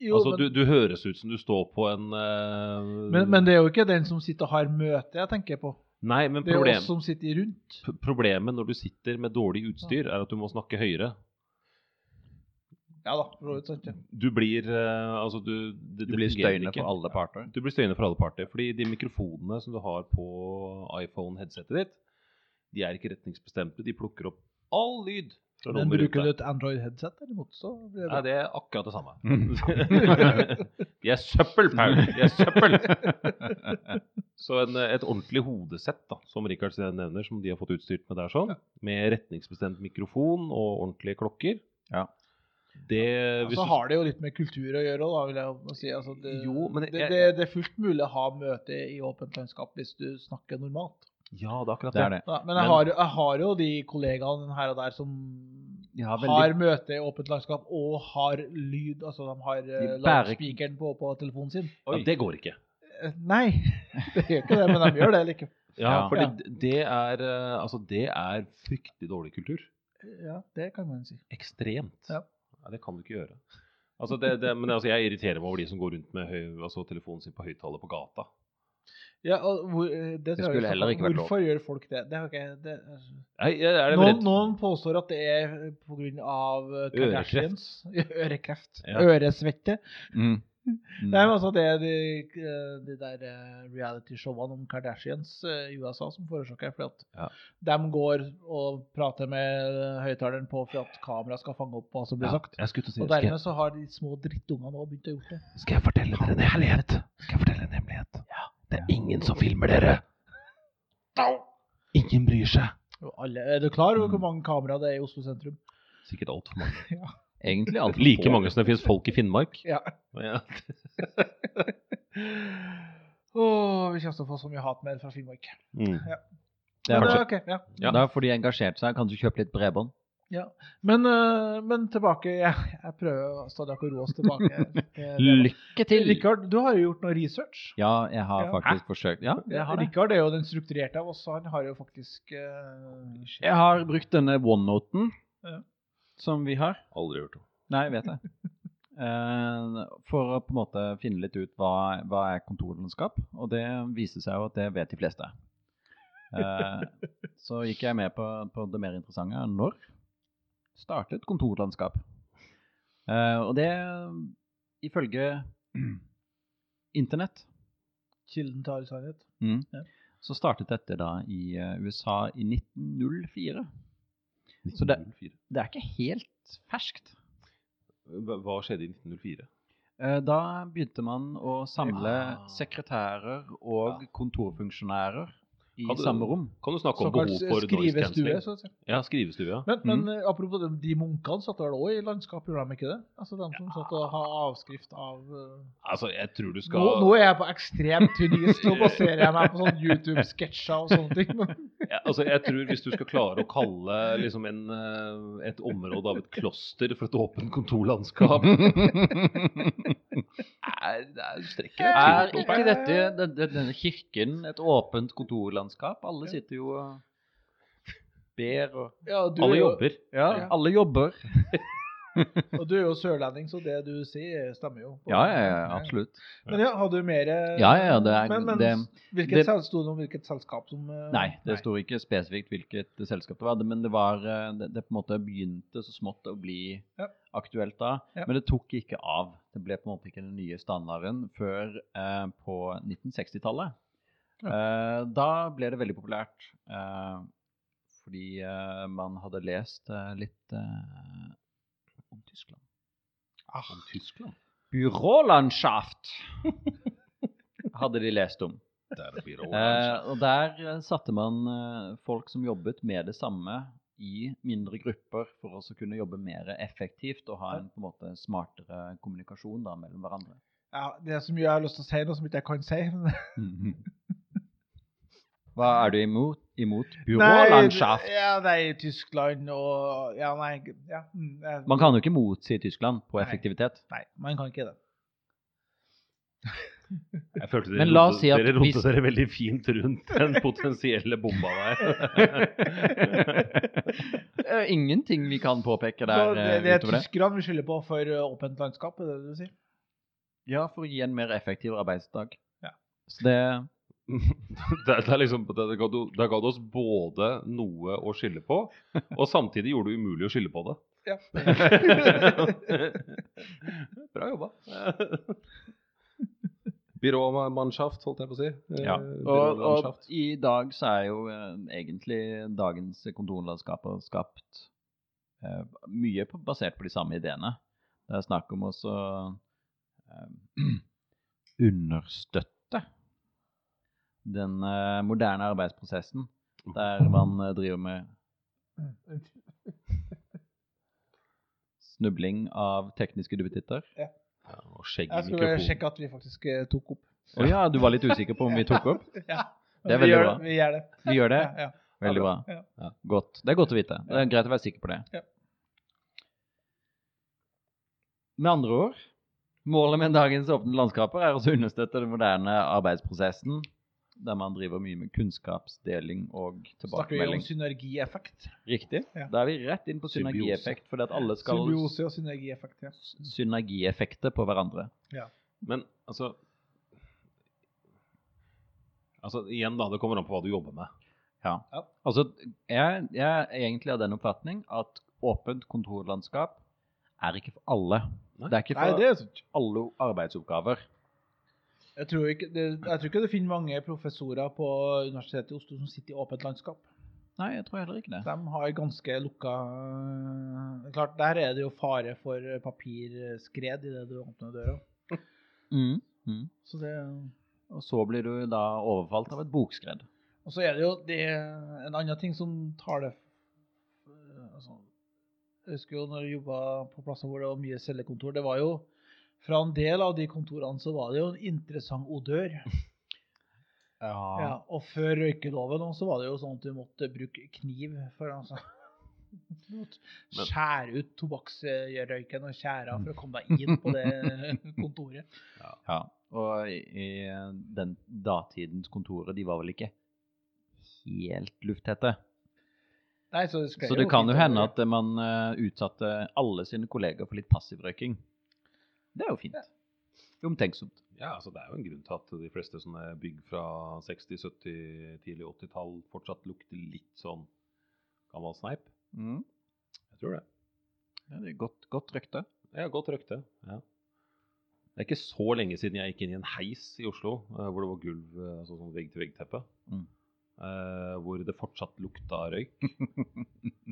Jo,
altså,
men,
du, du høres ut som du står på en eh,
men, men det er jo ikke den som sitter og har møte jeg tenker på.
Nei, men
Det er jo
problem,
oss som sitter rundt.
p- problemet når du sitter med dårlig utstyr, er at du må snakke høyere.
Ja da, for så vidt sant. Ja.
Du blir eh, Altså, du det,
Du
det
blir
fungerer
støyende
ikke.
for alle parter.
Du blir støyende for alle parter, fordi de mikrofonene som du har på iPhone-headsetet ditt, de er ikke retningsbestemte. De plukker opp all lyd fra
Men
rommet rundt
bruker du
deg.
et Android-headset derimot, så blir det bra.
Nei, det er akkurat
[LAUGHS]
det samme. de er søppel, Paul! De er søppel! Så en, et ordentlig hodesett, da, som Richard nevner, som de har fått utstyrt med der, sånn, med retningsbestemt mikrofon og ordentlige klokker
Ja.
Det, hvis
Så Altså,
du-
har det jo litt med kultur å gjøre, da, vil jeg jo si. Altså, det,
Jo, men
det,
jeg-
det, det er fullt mulig å ha møte i åpent landskap hvis du snakker normalt.
Ja, det er akkurat
Det er det.
Ja, men jeg
Men-
har, jo- jeg har jo de kollegaene her og der som
De har
har
veldig
møte i åpent landskap og har lyd. Altså de har uh,
bærer-
loudspeakeren på, på telefonen sin.
Ja, det går ikke.
Eh, Nei, [LAUGHS] det gjør ikke det, men de gjør det likevel.
Ja,
Ja.
for
Ja.
det er eh, Altså, det er fryktelig dårlig kultur.
[LAUGHS] Ja, det kan man si.
Ekstremt.
Ja.
Ja, det kan du ikke gjøre. Altså, det, det, men altså, jeg irriterer meg over de som går rundt med høy, altså, telefonen sin på høyttaler på gata.
Ja, og hvor, eh, det, tror jeg vi
skulle
skal-
heller ikke vært lov.
Hvorfor gjør folk det? Det har ikke jeg- det, altså.
Nei, jeg er det
noen,
redd-
noen påstår at det er pga. Kardashians. [LAUGHS] Ørekreft.
Ja.
eh, Øresvette. [LAUGHS]
mm.
Nei, men altså det er de, eh, de der eh, realityshowene om Kardashians eh, i USA som forårsaker fordi at
Ja.
de går og prater med eh, høyttaleren på for at kameraet skal fange opp hva som blir
Ja,
sagt.
jeg skulle til å si
Og
det. skal,
dermed så har de små drittungene òg begynt å gjøre det.
jeg, skal jeg fortelle dere en hemmelighet? Skal jeg fortelle en hemmelighet? Det er ingen som filmer dere. Ingen bryr seg.
Og alle, er du klar over
Mm.
hvor mange kameraer det er i Oslo sentrum?
Sikkert altfor mange. [LAUGHS]
Egentlig alt for
Like
få.
mange som det finnes folk i Finnmark.
Ja.
Ja.
Åh, vi kommer til å få så mye hatmail fra Finnmark.
Mm.
Det er
Men,
kanskje,
eh, ok, ja.
Ja.
Da får de engasjert seg. Kanskje kjøpe litt bredbånd.
men, eh, men tilbake Jeg, jeg prøver stadig å roe oss tilbake. Eh, det-
Lykke til!
Rikard, du har jo gjort noe research.
Ja, jeg har
Ja.
faktisk forsøkt. Ja, jeg har det.
Rikard er jo den strukturerte av oss, så han har jo faktisk eh,
Jeg har brukt denne OneNoten
Ja.
som vi har.
Aldri hørt om.
Nei, jeg
[LAUGHS]
vet det. Eh, For å på en måte finne litt ut hva, hva er kontorlandskap, og det viser seg jo at det vet de fleste. Eh, Så gikk jeg med på, på det mer interessante. Når startet kontorlandskap? Eh, Og det ifølge [CLEARS THROAT] internett
kilden til all sannhet.
så startet dette da i eh, USA i 1904. Så det,
1904.
det er ikke helt ferskt.
Hva hva skjedde i 1904?
Eh, Da begynte man å samle
Ah.
sekretærer og kontorfunksjonærer i
Hadde-
samme rom.
Kan du snakke om
Såkalt
behov for noise
skrivestue.
cancelling?
Så å si.
Ja, skrivestue. ja.
Men,
Mm.
men eh, apropos de, de munkene satt vel òg i landskap, gjorde de ikke det? Altså de som satt og har avskrift av eh,
Altså, jeg tror du skal
nå, nå er jeg på ekstremt tynn is, nå baserer jeg meg på sånn YouTube-sketsjer og sånne ting. Men, [LAUGHS]
Ja, altså, jeg tror Hvis du skal klare å kalle liksom en, eh, et område av et kloster for et åpent kontorlandskap er, det er strekker det
Er
tynt opp
ikke
her.
dette, den- den- denne kirken et åpent kontorlandskap? Alle sitter jo og ber og
Ja, du
Alle
er jo-
jobber.
Ja,
Alle jobber.
og du er jo sørlending, så det du sier, eh, stemmer jo.
Ja, ja, ja, absolutt.
Men ja, har du mer eh,
Ja, ja, ja, det er
Men, men
det,
hvilket
det-
sel- sto det om hvilket selskap som eh,
Nei, det sto ikke spesifikt hvilket selskap det var, det- men det var eh, Det, det på en måte begynte så smått å bli
Ja.
aktuelt da,
Ja.
men det tok ikke av. Det ble på en måte ikke den nye standarden før eh, på 1960-tallet. Eh, da ble det veldig populært eh, fordi eh, man hadde lest eh, litt eh, om Tyskland.
[LAUGHS] Om Tyskland.
[LAUGHS]
Byrålandschaft hadde de lest om.
Der blir det overraskelse.
Eh, og der eh, satte man eh, folk som jobbet med det samme i mindre grupper for også å kunne jobbe mer effektivt og ha en på en måte smartere kommunikasjon da, mellom
[LAUGHS]
hverandre.
Ja, det er så mye jeg har lyst til å si nå som ikke jeg kan si. men-
Hva er du imot? Imot
Nei,
byrålandschaft?
Ja, nei, Tyskland og Ja, nei ja, mm, jeg-
Man kan jo ikke motsi Tyskland på
Nei. [LAUGHS]
effektivitet.
Nei, man kan ikke det.
Jeg følte dere,
Men la oss
rotet-
si at
dere rotet
hvis-
dere veldig fint rundt den potensielle bomba
[LAUGHS]
der.
Eh, Ingenting vi kan påpeke
Så
der
det,
eh,
det er
utover det.
tyskerne vi skylder på for eh, åpent landskap, er det det du sier?
Ja, for å gi en mer effektiv arbeidsdag.
Ja.
Så det
det, det er liksom, det, det, ga du, det ga du oss både noe å skylde på, og samtidig gjorde det umulig å skylde på det.
[LAUGHS]
Ja.
[LAUGHS] Bra jobba. Byråmannschaft, holdt jeg på å si. Eh,
Ja. Og, og
byrålandschaft.
i dag så er jo eh, egentlig dagens kontorlandskaper skapt eh, mye på, basert på de samme ideene. Det er snakk om også eh, [CLEARS THROAT] understøtte den eh, moderne arbeidsprosessen der man eh, driver med snubling av tekniske duppetitter.
Ja, og skjegg i
Jeg skulle
mikrofonen.
sjekke at vi faktisk eh, tok opp.
Å ja, du var litt usikker på om vi tok opp?
Ja,
Det er
vi
veldig
gjør
bra.
det, Vi gjør det.
Vi gjør det?
Ja, ja.
Veldig bra.
Ja.
Godt. Det er godt å vite. Det er greit å være sikker på det.
Ja.
Med andre ord, målet med dagens åpne landskaper er også å understøtte den moderne arbeidsprosessen, der man driver mye med kunnskapsdeling og
Snakker vi om
tilbakemelding.
synergieffekt?
Riktig.
Ja.
Da er vi rett inn på
Symbiose.
synergieffekt, fordi at alle skal
Symbiose og synergieffekt, ja.
synergieffekter på hverandre.
Men altså Altså, igjen da, det kommer an på hva du jobber med.
Ja.
Ja.
Altså, jeg, jeg er egentlig av den oppfatning at åpent kontorlandskap er ikke for alle.
Nei.
Det er ikke
Nei,
for
det er sant.
alle arbeidsoppgaver.
Jeg tror, ikke, det, jeg tror ikke du finner mange professorer på Universitetet i Oslo som sitter i åpent landskap.
Nei, jeg tror heller ikke det.
De har ganske lukka øh, Klart, der er det jo fare for papirskred idet du åpner døra.
Mm. Mm.
Så det,
Og så blir du da overfalt av et bokskred.
og så er det jo det, en annen ting som tar det øh, altså, Jeg husker jo når jeg jobba på plasser hvor det var mye cellekontor. Det var jo fra en del av de kontorene så var det jo en interessant odør. Ja, og før røykeloven også, så var det jo sånn at du måtte bruke kniv for altså. [LAUGHS] Du måtte
Men-
skjære ut tobakksrøyken og tjæra for å komme deg inn på det kontoret.
Ja. Og i i den datidens kontoret, de var vel ikke helt lufttette.
Nei, så, det sklei
Så det kan jo
fint
hende
over.
at man eh, utsatte alle sine kolleger for litt passiv røyking. Det er jo fint. Omtenksomt.
Ja, altså Det er jo en grunn til at de fleste sånne bygg fra 60-, 70-, tidlig 80-tall fortsatt lukter litt sånn gammel sneip.
Mm.
Jeg tror det.
Ja, det er godt, godt røkte.
Jeg har godt røkte. Ja. Det er ikke så lenge siden jeg gikk inn i en heis i Oslo eh, hvor det var gulv, eh, altså sånn vegg-til-vegg-teppe,
Mm.
eh, hvor det fortsatt lukta røyk. [LAUGHS]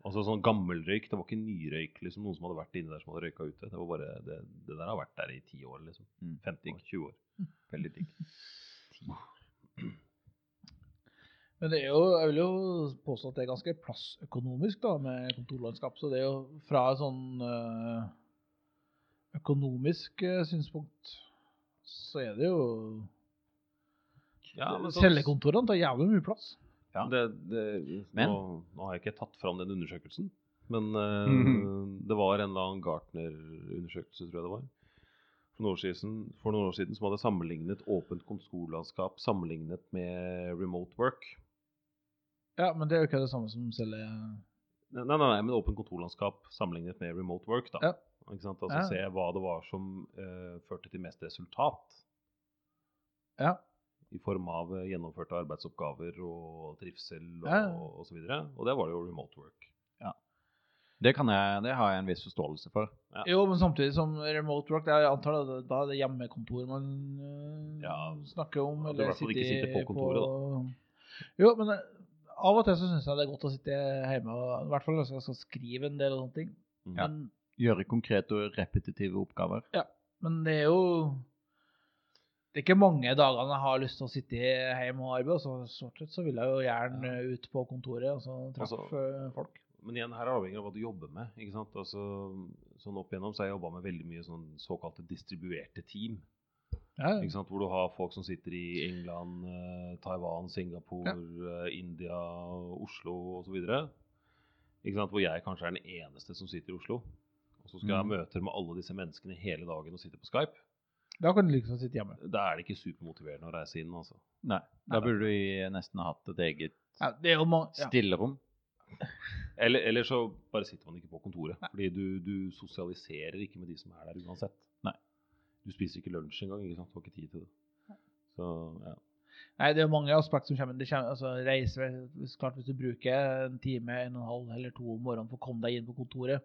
Altså sånn gammel røyk, det var ikke nyrøyk, liksom noen som hadde vært inne der som hadde røyka ute. Det var bare, det, det der har vært der i 10 år, liksom.
Mm.
50-20 år.
Veldig digg.
Men det er jo, jeg vil jo påstå at det er ganske plassøkonomisk da, med kontorlandskap. Så det er jo fra et sånn øh, økonomisk øh, synspunkt, så er det jo
Ja, men sånn så-
Cellekontorene tar jævlig mye plass.
Ja.
Det, det,
Men-
nå, nå har jeg ikke tatt fram den undersøkelsen, men
[LAUGHS]
eh,
Mhm.
det var en eller annen Gartner-undersøkelse, tror jeg det var, for noen år siden, for noen år siden som hadde sammenlignet åpent kontorlandskap sammenlignet med remote work.
Ja, men det er jo ikke det samme som selge
Nei, nei, nei, men åpen kontorlandskap sammenlignet med remote work, da.
Ja.
Ikke sant? Altså
Ja.
se hva det var som eh, førte til mest resultat.
Ja.
I form av eh, gjennomførte arbeidsoppgaver og trivsel og,
Ja.
og så videre. Og det var det jo remote work.
Det, kan jeg, det har jeg en viss forståelse for.
Ja.
Jo, men samtidig som remote work, det er, jeg antar det, da er det hjemmekontor man øh,
Ja,
snakker om.
du i
Eller
hvert fall ikke sitter på kontoret,
da. Jo, men eh, av og til så syns jeg det er godt å sitte hjemme, og, i hvert fall hvis jeg skal skrive en del og sånne ting.
Mm.
Ja.
Men,
Gjøre konkrete og repetitive oppgaver.
men det er jo det er ikke mange dagene jeg har lyst til å sitte hjemme og arbeide. og Så stort sett så vil jeg jo gjerne ut på kontoret og så treffe
Altså-
øh, folk.
Men igjen, her er det avhengig av hva du jobber med. ikke sant? Altså, sånn Opp igjennom så har jeg jobba med veldig mye sånn såkalte distribuerte team.
Ja, ja.
ikke sant? Hvor du har folk som sitter i England, eh, Taiwan, Singapore, eh, India, Oslo osv. Hvor jeg kanskje er den eneste som sitter i Oslo. Og så skal jeg ha
Mm.
møter med alle disse menneskene hele dagen og sitte på Skype.
Da kan du liksom sitte hjemme.
Da er det ikke supermotiverende å reise inn, altså.
Nei, Da burde vi nesten ha hatt et eget
Ja, det er jo mange, ja.
stillerom.
Eller, eller så bare sitter man ikke på kontoret. Fordi du, du sosialiserer ikke med de som er der uansett.
Nei.
Du spiser ikke lunsj engang. ikke sant? Du har ikke tid til det. Så, ja.
Nei, det er jo mange aspekter som kommer. Det kommer altså, reise, hvis- klart Hvis du bruker en time, en og en halv eller to om morgenen for å komme deg inn på kontoret,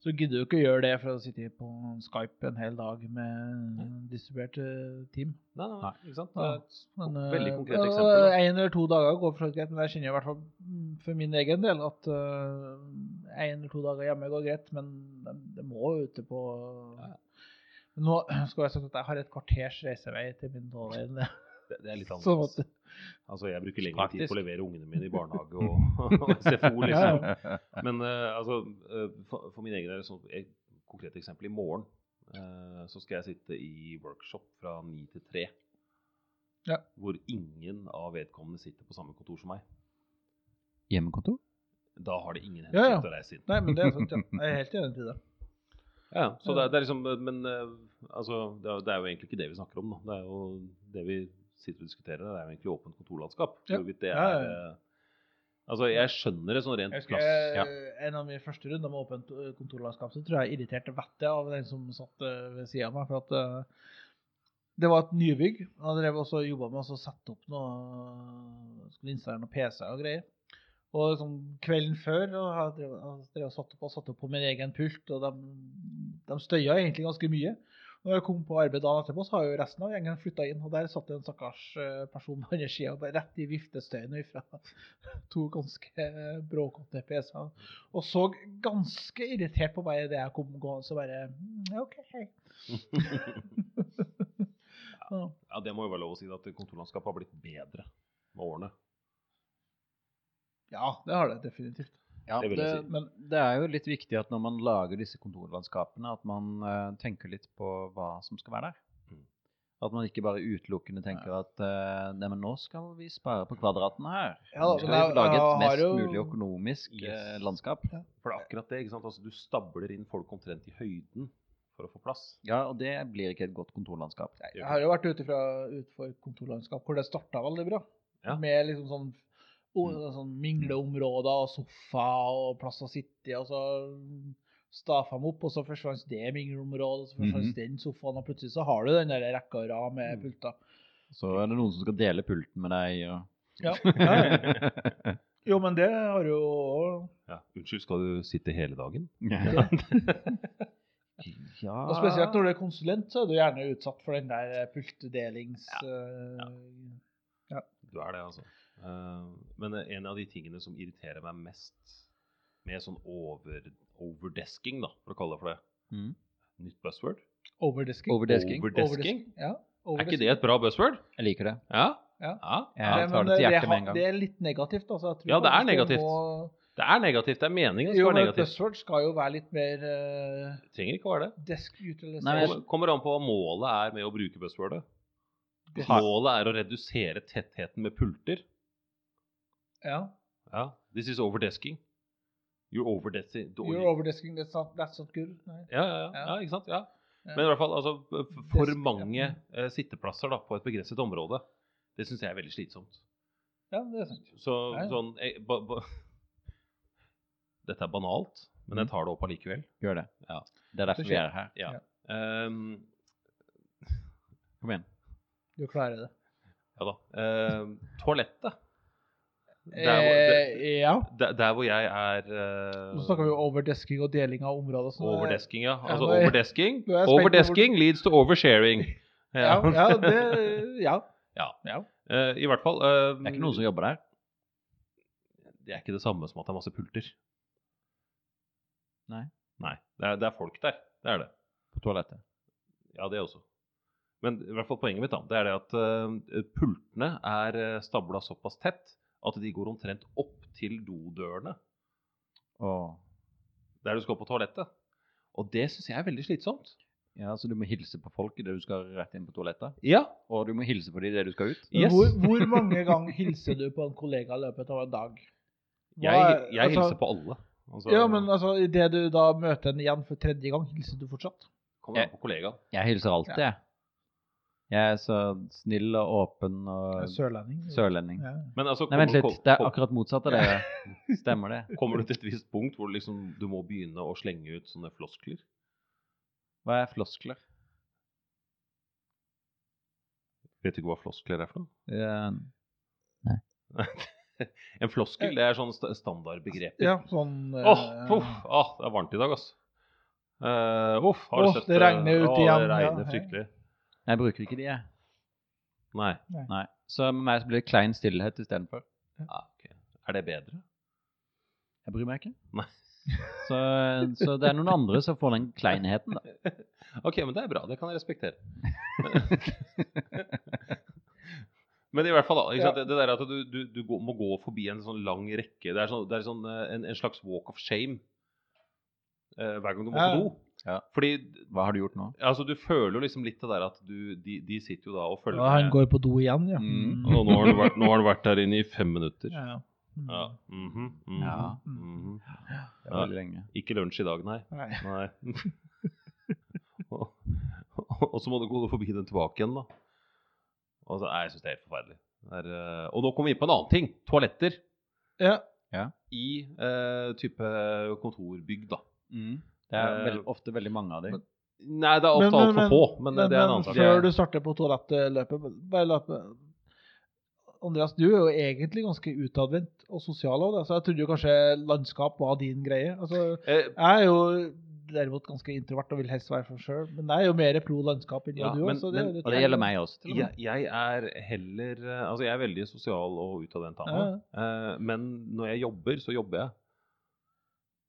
så gidder du ikke å gjøre det for å sitte på Skype en hel dag med en distribuert eh, team.
Nei, nei, nei, ikke sant?
Ja.
Det er
Men,
et veldig
eh,
konkret
ja,
eksempel. da.
En eller to dager går for så vidt greit, men jeg kjenner i hvert fall mm, for min egen del at eh, en eller to dager hjemme går greit, men det- det må jo ute på
Ja.
Men Nå [CLEARS THROAT] skal jeg si at jeg har et kvarters reisevei til min nåværende.
Det, det er litt
Sånn
annerledes.
at
Altså, jeg bruker lengre
Praktisk.
tid på å levere ungene mine i barnehage og, [LAUGHS] og SFO, liksom. Men eh, altså, eh, for, for min egen del, sånn et konkret eksempel, i morgen eh, så skal jeg sitte i workshop fra ni til tre.
Ja.
Hvor ingen av vedkommende sitter på samme kontor som meg.
Hjemmekontor?
Da har det ingen hensikt
Ja, ja.
å reise inn.
Nei, men det er sant, ja. Jeg er helt enig til det.
Ja, så det, er- det er liksom eh, Men eh, altså, det er, det er jo egentlig ikke det vi snakker om, da. Det er jo det vi sitter og diskuterer, det er jo egentlig åpent kontorlandskap.
Ja.
Hvorvidt det
Ja,
er
ja,
eh, Altså, jeg skjønner det sånn rent
Jeg husker
plass.
[LAUGHS]
Ja.
eh, en av mine første runder med åpent eh, kontorlandskap, så tror jeg jeg irriterte vettet av den som satt eh, ved siden av meg. For at eh, det var et nybygg. og Jeg drev også og jobba med å sette opp noe Skulle installere noen PC-er og greier. Og sånn kvelden før og jeg drev, jeg drev og satt opp, og satt opp på min egen pult, og de, de støya egentlig ganske mye. Og når jeg kom på arbeid dagen etterpå, så har jo resten av gjengen flytta inn. Og der satt det en stakkars eh, person på andre sida, rett i viftestøyen fra to ganske eh, bråkete PC-er. Og så ganske irritert på meg idet jeg kom gående, så bare «Mm, ja, OK, hei. [LAUGHS] ja.
Ja, det må jo være lov å si at kontorlandskapet har blitt bedre med årene.
ja, det har det definitivt.
Ja,
Det
det,
vil jeg si.
men det er jo litt viktig at når man lager disse kontorlandskapene, at man eh, tenker litt på hva som skal være der.
Mm.
At man ikke bare utelukkende tenker at eh, nei, men nå skal vi spare på kvadratene her.
Ja da,
nå skal
men jeg-
vi lage
jeg
et
har
mest
jo-
mulig økonomisk eh,
Yes.
landskap.
For det er akkurat det. ikke sant? Altså, Du stabler inn folk omtrent i høyden for å få plass.
Ja, og det blir ikke et godt kontorlandskap.
Jeg har jo vært ute fra, utenfor kontorlandskap hvor det starta veldig bra.
Ja.
Med liksom sånn, o-
Mm.
sånn mingleområder og sofa og plass å sitte i. Og så stafa dem opp, og så forsvant det mingleområdet, og så forsvant
Mhm.
den sofaen, og plutselig så har du den der rekka og rad med
Mm.
pulter.
Så er det noen som skal dele pulten med deg. Og... [LAUGHS]
Ja. ja, ja. Jo, men det har jo
Ja, Unnskyld, skal du sitte hele dagen?
ja.
Og spesielt når du er konsulent, så er du gjerne utsatt for den der pultdelings... eh,
Du er det, altså. Eh, men en av de tingene som irriterer meg mest med sånn over, overdesking, da, for å kalle det for det,
Mm.
nytt buzzword
overdesking.
Overdesking.
Overdesking?
Ja.
Er ikke det et bra buzzword?
Jeg liker det.
Ja?
Ja.
Jeg
men
tar det til
det
hjertet
har-
med en gang.
Det er litt negativt. Altså. Jeg tror
Ja, det er
faktisk
negativt.
Må,
Det er negativt. Det er meningen som
jo,
er
men et
negativt.
buzzword skal jo være litt mer eh,
Det trenger ikke å være det.
desk
Nei, men jeg-
utilization.
Kommer- Kommer an på hva målet er med å bruke buzzwordet.
Desk-
Målet er å redusere tettheten med pulter.
Ja.
Ja. This is overdesking. You're overdesking. Du-
You're overdesking, that's not, that's not good. Nei.
Ja, ja, ja, ja,
Ja.
ikke sant? Ja.
Ja.
Men i hvert fall altså, f- for
Desk-
mange
ja.
eh, sitteplasser da, på et begrenset område. Det syns jeg er veldig slitsomt.
Ja, det er sant.
Så
Ja, ja.
sånn jeg, ba, ba, [LAUGHS] Dette er banalt, men
Mm.
jeg tar det opp allikevel.
Gjør det.
Ja.
Det er derfor vi er her.
Ja.
Ja.
Ehm,
Kom igjen.
Du klarer det.
ja da. Ehm, toalettet. Der, hvor-
Eh, ja.
der, der- der hvor jeg er eh,
Nå snakker vi jo overdesking og deling av områder. og sånn.
Overdesking, ja. Altså
nå er-
overdesking.
nå er jeg spent på
Overdesking leads to oversharing.
[LAUGHS] Ja,
Ja.
ja, det, ja.
Ja.
ja.
[LAUGHS] Eh, I hvert fall eh,
Det er ikke noen som jobber der.
det er ikke det samme som at det er masse pulter.
Nei.
Nei. Det er, det er folk der. Det er det.
På toalettet.
Ja, det også. Men i hvert fall poenget mitt da, det er det at eh, pultene er uh, stabla såpass tett at de går omtrent opp til dodørene
Åh.
der du skal på toalettet. Og det syns jeg er veldig slitsomt.
Ja, så du må hilse på folk idet du skal rett inn på toalettet.
Ja.
Og du må hilse på dem idet du skal ut.
Men
Yes.
Hvor, hvor mange ganger hilser du på en kollega i løpet av en dag?
Jeg, jeg
altså,
hilser på alle. Altså,
Ja, men altså, idet du da møter en igjen for tredje gang, hilser du fortsatt?
Kommer an på kollegaen.
Jeg hilser alltid, jeg. Jeg er så snill og åpen og
Sørlending.
sørlending.
Ja.
Men altså,
Nei, vent
kommer-
litt. Det er
kom-
akkurat motsatt av [LAUGHS] det. Stemmer det.
Kommer du til et visst punkt hvor liksom, du må begynne å slenge ut sånne floskler?
Hva er floskler?
Vet du ikke hva floskler er for noe?
Eh,
En floskel det er sånn sta- standardbegreper.
ja, sånn eh,
Åh, puff, ah, det er varmt i dag, ass. Eh, uff, har
Åh,
du sett
det regner ute
Åh,
igjen,
Det regner
ja.
fryktelig.
Jeg bruker ikke de, jeg.
Nei.
Nei. Så med meg så blir det klein stillhet istedenfor.
Ah, ok. Er det bedre? [LAUGHS]
Jeg bryr meg ikke.
Nei.
Så, så det er noen andre som får den kleinheten, [LAUGHS] da.
Ok, men det er bra. Det kan jeg respektere. men i hvert fall, da. Ikke sant?
Ja.
Det, det der at du, du, du går, må gå forbi en sånn lang rekke Det er, sånn, det er sånn, eh, en, en slags walk of shame eh, hver gang du må
Ja.
på do.
Ja.
Fordi
Hva har du gjort nå?
altså, du føler jo liksom litt det der at du, de, de sitter jo da og følger
Ja, han
med.
går på do igjen, ja.
Mm.
Og nå har, du vært, nå har du vært der inne i fem minutter.
Ja, ja. Mm.
Ja. mhm, mhm,
Ja.
mhm.
Det var veldig lenge.
Ikke lunsj i dag, nei.
Nei.
nei. [LAUGHS] og, og så må du gå forbi den tilbake igjen, da. Og så, nei, jeg syns det er helt forferdelig. Det er, eh, og nå kommer vi inn på en annen ting. Toaletter
Ja.
i eh, type kontorbygg, da.
Mm. Det er
Eh,
vel, ofte veldig mange av de.
Nei,
Men-
det er ofte
men-
altfor få, men,
Men,
det er en
men
annen sak.
før du starter på toalettløpet, bare la Andreas, du er jo egentlig ganske utadvendt og sosial av det, så jeg trodde jo kanskje landskap var din greie. Altså,
Eh,
jeg er jo derimot ganske introvert og vil helst være for sjøl, men jeg er jo mer pro landskap enn
Ja,
du
men-
også. det er jo
men-
litt-
Og det gjelder meg også. til og
jeg,
med.
jeg er heller eh, Altså, jeg er veldig sosial og utadvendt av meg, eh, men når jeg jobber, så jobber jeg.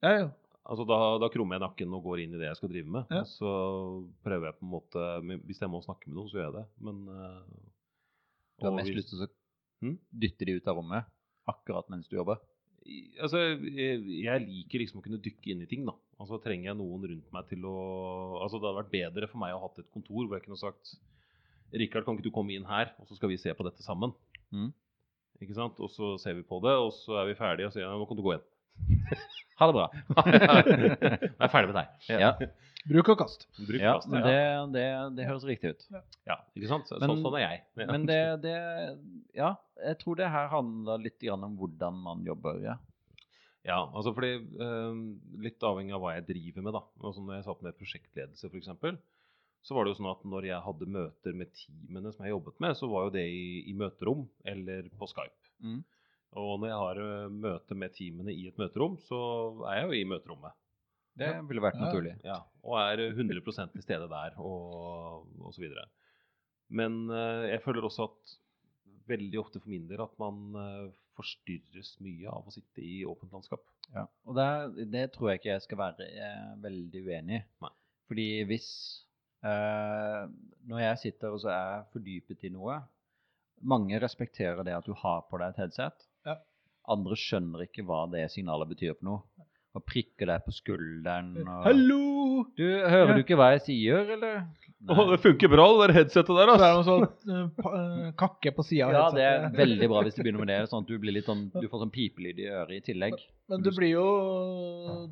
Ja, ja.
Altså da, da krummer jeg nakken og går inn i det jeg skal drive med.
Ja.
Og så prøver jeg på en måte men Hvis jeg må snakke med noen, så gjør jeg det. Men eh,
Du har
og
mest
hvis-
lyst til å
Hm?
dytte de ut av rommet akkurat mens du jobber.
I- Altså, jeg, jeg liker liksom å kunne dykke inn i ting, da. Altså trenger jeg noen rundt meg til å Altså det hadde vært bedre for meg å ha hatt et kontor hvor jeg kunne sagt Rikard, kan ikke du komme inn her, og så skal vi se på dette sammen?
Mhm.
Ikke sant? Og så ser vi på det, og så er vi ferdige, og så sier jeg nå kan du [LAUGHS]
[LAUGHS]
gå igjen.
Ha det bra.
jeg er ferdig med deg.
Ja,
Bruk og kast.
Bruk
ja
plass til
men
det.
det, det, det høres riktig ut.
Ja, ikke sant? Så-
Men-
sånn, sånn er jeg. [LAUGHS] Ja.
Men det, det Ja, jeg tror det her handler litt grann om hvordan man jobber. ja.
Ja, altså fordi eh, Litt avhengig av hva jeg driver med, da. Altså når jeg satt med prosjektledelse, f.eks., så var det jo sånn at når jeg hadde møter med teamene som jeg jobbet med, så var jo det i, i møterom eller på Skype.
Mm.
Og når jeg har eh, møte med teamene i et møterom, så er jeg jo i møterommet.
Det ville vært
Ja.
naturlig.
Ja, og er 100 til stede der, og, og så videre. Men eh, jeg føler også at veldig ofte for min del at man eh, forstyrres mye av å sitte i åpent landskap.
Ja, og det, det tror jeg ikke jeg skal være eh, veldig uenig i.
Nei.
Fordi hvis eh, Når jeg sitter og så er jeg fordypet i noe Mange respekterer det at du har på deg et headset.
Ja.
Andre skjønner ikke hva det signalet betyr for noe. Og prikker deg på skulderen og
Hallo!
Du, hører
Ja.
du ikke hva jeg sier, eller?
det funker bra, det der headsetet der,
Så er det noe sånn eh, pa- eh, kakke på sida.
Ja, det er veldig bra hvis du begynner med det, sånn at du, blir litt sånn, du får sånn pipelyd i øret i tillegg.
[LAUGHS] Men du blir jo,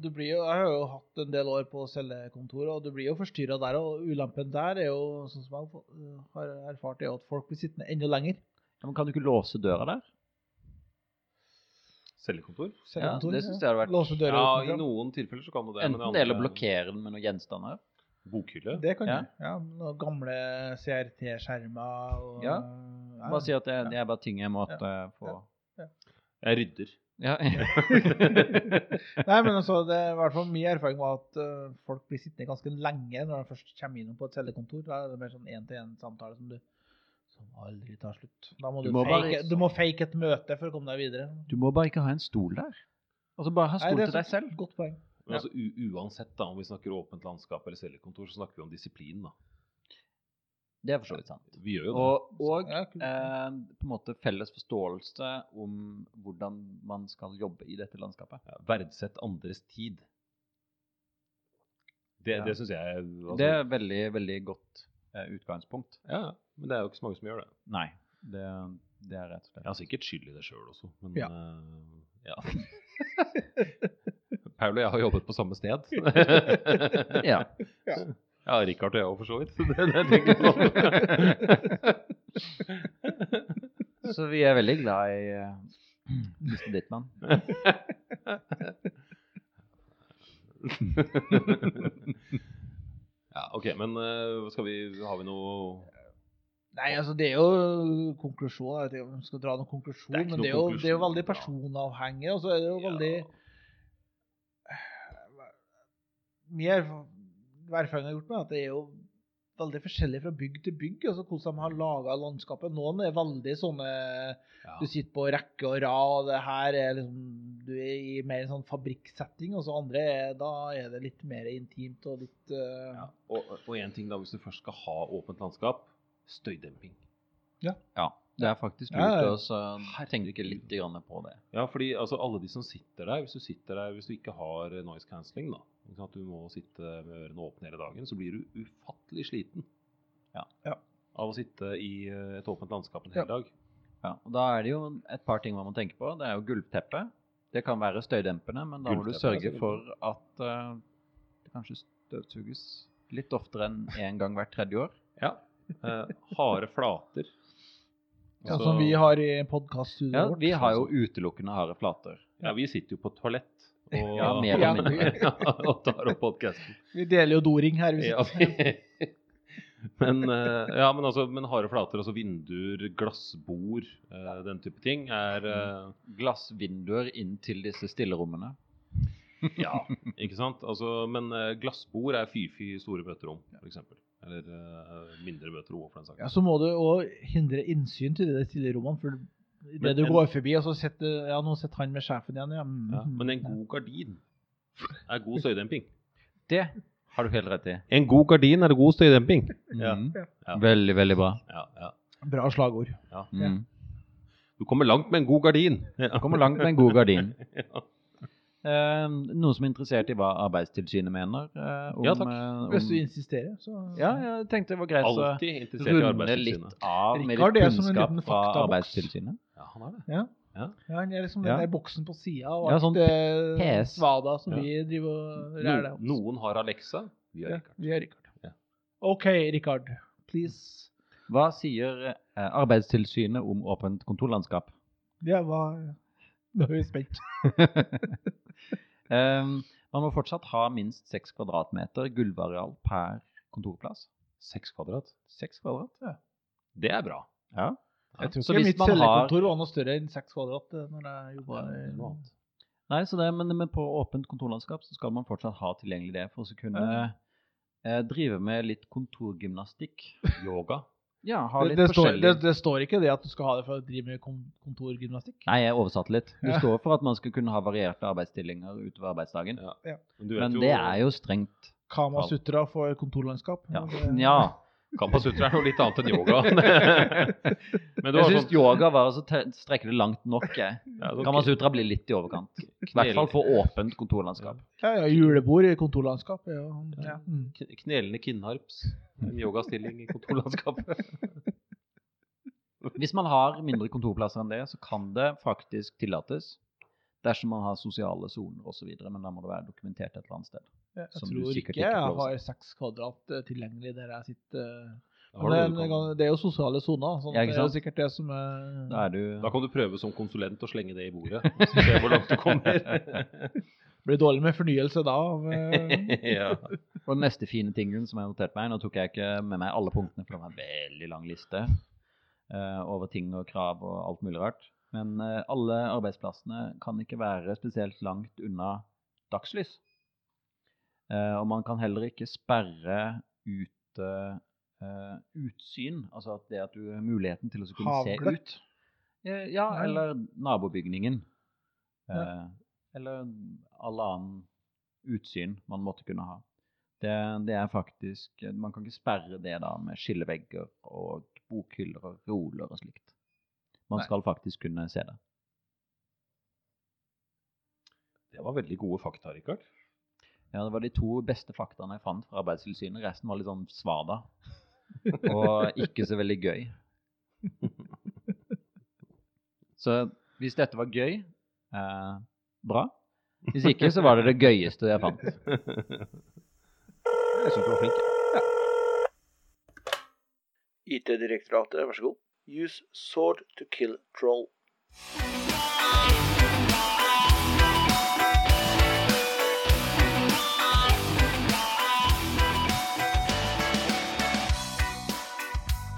du blir jo Jeg har jo hatt en del år på cellekontoret, og du blir jo forstyrra der. Og ulempen der er jo, sånn som jeg har erfart, er jo at folk blir sittende enda lenger.
Ja, men kan du ikke låse døra der?
Cellekontor?
Ja,
Cellekontor,
det syns jeg hadde vært
Låse dører
Ja,
utenfra.
i noen tilfeller så kan du det. men i
Enten
andre-
det eller blokkere den med noen gjenstander.
Bokhylle?
Det kan
Ja.
du. Ja, noen gamle CRT-skjermer og eh,
Ja.
Ja,
Bare si at det, det er bare ting jeg måtte få
Jeg
[LAUGHS]
rydder.
[LAUGHS] Ja,
Nei, men altså, det er i hvert fall min erfaring var at øh, folk blir sittende ganske lenge når de først kommer innom på et cellekontor. Da er det mer sånn én-til-én-samtale som du som aldri tar slutt. Da må du,
Du må bare-
fake, du må fake et møte for å komme deg videre.
Du må bare ikke ha en stol der. Altså bare ha
Nei,
stol
det er
til deg selv.
Godt poeng. Ja.
Men altså, u uansett da, om vi snakker åpent landskap eller cellekontor, så snakker vi om disiplin. da.
Det er for så vidt sant.
Vi gjør jo det.
Og, og
Ja, kult.
eh, på en måte felles forståelse om hvordan man skal jobbe i dette landskapet.
Ja, verdsett andres tid. Det,
Ja.
det syns jeg altså,
Det er et veldig, veldig godt eh, utgangspunkt.
Ja, ja, men det er jo ikke så mange som gjør det.
Nei, det, det er rett og
Jeg
slett.
har sikkert skyld i det sjøl også, men
Ja.
ja. ja. [LAUGHS] Paul og jeg har jobbet på samme sted. [LAUGHS] ja.
Ja.
ja, Richard og jeg òg, for så vidt. [LAUGHS] Det, det tenker jeg på.
Så vi er veldig glad i eh, [CLEARS THROAT] Mr. Dittmann.
[LAUGHS] ja, OK, men eh, skal vi Har vi noe
Nei, altså, det er jo konklusjon. Jeg vet ikke om vi skal dra noen konklusjon,
Det er ikke
men
noen
det er, jo, det er jo
konklusjon,
veldig
ja.
personavhengig, og så er det jo
Ja.
veldig Mer erfaring jeg har gjort med, at det er jo veldig forskjellig fra bygg til bygg. altså Hvordan de har laga landskapet. Noen er veldig sånne
ja.
Du sitter på rekke og rad, og det her er liksom Du er i mer en sånn fabrikksetting, og så andre er Da er det litt mer intimt og litt eh,
Ja, Og, og en ting da, hvis du først skal ha åpent landskap, støydemping.
Ja, det er faktisk
Ja, ja.
lurt å så tenke litt grann på det.
Ja, fordi altså, alle de som sitter der, hvis du sitter der hvis du ikke har eh, noise cancelling, da, ikke sant, du må sitte med ørene åpne hele dagen, så blir du ufattelig sliten
Ja.
Ja.
av å sitte i eh, et åpent landskap en hel
Ja.
dag.
Ja, og Da er det jo et par ting man må tenke på. Det er jo gulvteppe. Det kan være støydempende, men da må du
Gulvteppe er
sørge
sikkert
for at eh, det kanskje støvsuges litt oftere enn én gang hvert tredje
[LAUGHS]
år.
Ja. Eh, harde flater.
ja,
Altså,
Som vi har i podkaststudioet
Ja,
vårt.
Vi har jo utelukkende harde flater.
Ja, vi sitter jo på et toalett. Og,
Ja, mer
eller
[LAUGHS] mindre. og tar opp podkasten.
Vi deler jo doring her. Vi
Ja,
sitter.
[LAUGHS] men, eh, ja, men, altså, men harde flater, altså vinduer, glassbord, eh, den type ting, er eh,
Glassvinduer inn til disse stillerommene.
Ja, ikke sant? Altså, men eh, glassbord er fy-fy store møterom, f.eks. Eller eh, mindre møterom, for den
Ja,
saks
så må du òg hindre innsyn til de der stille rommene. For
Men
idet du
en-
går forbi, og så sitter Ja, nå sitter han med sjefen igjen, ja.
sånn,
Mm.
ja, Men en god gardin er god støydemping.
Det har du helt rett i.
[LAUGHS] En god gardin er god støydemping. Ja.
Mhm.
Ja.
Veldig, veldig bra.
Ja, ja.
Bra slagord.
Mm.
Du kommer langt med en god gardin. Ja.
Kommer langt med en god gardin.
[LAUGHS] Ja.
Eh, noen som er interessert i hva Arbeidstilsynet mener? eh, om,
Ja, takk.
eh, om-
Hvis du insisterer, så
ja, jeg tenkte det var greit å
Alltid interessert i
runde
Arbeidstilsynet.
litt av med
Rikard
litt
er som en
kunnskap
liten
fra
faktaboks.
Arbeidstilsynet.
Ja, han er det.
Ja, han er liksom
Ja.
den der boksen på sida og
Ja,
alt
sånn
det
PS.
svada som
Ja.
vi driver og ræler
Noen, noen har Alexa. Vi har
Ja,
Rikard.
vi er Rikard.
Ja.
OK, Rikard. Please.
Hva sier eh, Arbeidstilsynet om åpent kontorlandskap? [LAUGHS]
Det var [LAUGHS] Nå er vi spent.
Ehm, man må fortsatt ha minst seks kvadratmeter gulvareal per kontorplass.
Seks kvadrat.
Seks kvadrat, ja.
Det er bra.
ja.
Jeg tror
Så
ikke
hvis
mitt
man har-
cellekontor var noe større enn seks kvadrat eh, når jeg jobba
Ja, det er noe annet.
Nei, så det, men, men på åpent kontorlandskap så skal man fortsatt ha tilgjengelig det for å så kunne eh, drive med litt kontorgymnastikk.
Yoga.
Ja, ha
det,
litt
det, står,
forskjellig.
det, det står ikke det at du skal ha det for å drive med kon- kontorgymnastikk.
Nei, jeg oversatte litt. Det
Ja.
står for at man skal kunne ha varierte arbeidsstillinger utover arbeidsdagen.
Ja.
Ja.
Men, du vet
Men det er jo strengt.
Kamasutra for kontorlandskap.
Ja.
Det-
ja.
Kamasutra er noe litt annet enn
[LAUGHS]
yoga. [LAUGHS] Men du
Jeg
har
syns
sånn
yoga var å så te- strekke det langt nok. jeg.
[LAUGHS] Ja, sånn
Kamasutra blir litt i overkant. I hvert fall for åpent kontorlandskap.
Ja, ja, julebord i kontorlandskap. er jo- Ja. Mm.
kn- knelende kinnharps. En yogastilling i kontorlandskapet.
Hvis man har mindre kontorplasser enn det, så kan det faktisk tillates. Dersom man har sosiale soner osv., men da må det være dokumentert et eller annet sted.
Jeg
Som du
tror
sikkert
ikke
ikke
jeg
får lov til.
har seks kvadrat eh, tilgjengelig der jeg sitter. eh,
Har
Men
du
det, er en
noe du
gang- det er jo sosiale soner. Sånn,
Ja, ikke
det er jo
sant?
sikkert det som eh, er
Da er du
kan- Da kan du prøve som konsulent å slenge det i [LAUGHS] bordet. og så Se hvor langt du kommer.
Blir dårlig med fornyelse da. Av,
[LAUGHS]
eh,
[LAUGHS] ja.
Og den neste fine tingen som jeg noterte meg, nå tok jeg ikke med meg alle punktene, for det var en veldig lang liste eh, over ting og krav og alt mulig rart. Men eh, alle arbeidsplassene kan ikke være spesielt langt unna dagslys. Eh, og man kan heller ikke sperre ute eh, utsyn, altså at det at du har muligheten til å kunne se
Havgløtt.
ut. Eh, ja,
Ja.
eller nabobygningen. Eh,
Ja.
Eller alle annen utsyn man måtte kunne ha. Det, det er faktisk Man kan ikke sperre det da med skillevegger og bokhyller og roller og slikt. Man
Nei.
skal faktisk kunne se det.
Det var veldig gode fakta, Rikard.
Ja, Det var de to beste faktaene jeg fant fra Arbeidstilsynet. Resten var litt sånn svada. Og ikke så veldig gøy. Så hvis dette var gøy, eh, bra. Hvis ikke, så var det det gøyeste jeg fant.
Jeg syns du var flink.
IT-direktoratet, vær så god. Use sword to kill troll.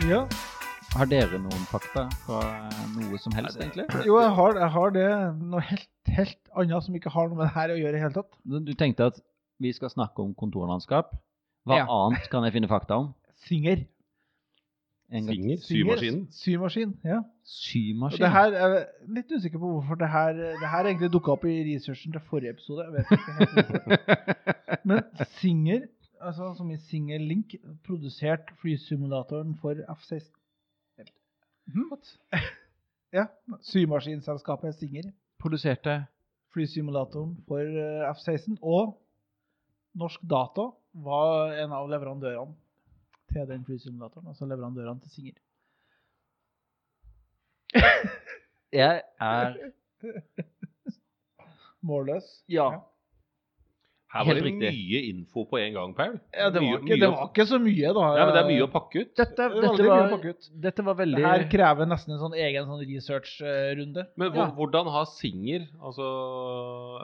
Ja.
Har dere noen fakta fra noe som helst,
Nei, det-
egentlig?
Jo, jeg har, jeg har det. Noe helt, helt annet som ikke har noe med det her å gjøre i det hele tatt.
Du du tenkte at vi skal snakke om kontorlandskap. Hva
Ja.
annet kan jeg finne fakta om?
Singer.
En gang-
Svinger.
Singer,
Symaskinen.
Symaskin, ja. Og
Symaskin.
det her, jeg er litt usikker på hvorfor det her, det her egentlig dukka opp i researchen til forrige episode. Jeg vet ikke helt hvorfor. Men Singer, altså som i Singer Link, produserte flysimulatoren for F-16. What? [LAUGHS] ja. Symaskinselskapet Singer.
Produserte
Flysimulatoren for eh, F-16. Og Norsk Data var en av leverandørene til den flysimulatoren. Altså leverandørene til Singer.
Jeg er
Målløs.
Ja.
Her var det
Helt riktig.
mye info på en gang, Paul.
Ja, det
Mye-
var, ikke, det
mye-
var ikke så mye, da.
Nei, men det er mye å pakke ut.
Dette,
Det er
dette,
veldig mye å
var,
pakke ut.
dette var
Det her
veldig
krever nesten en sånn egen sånn research-runde.
Men hvor,
ja.
hvordan har Singer altså,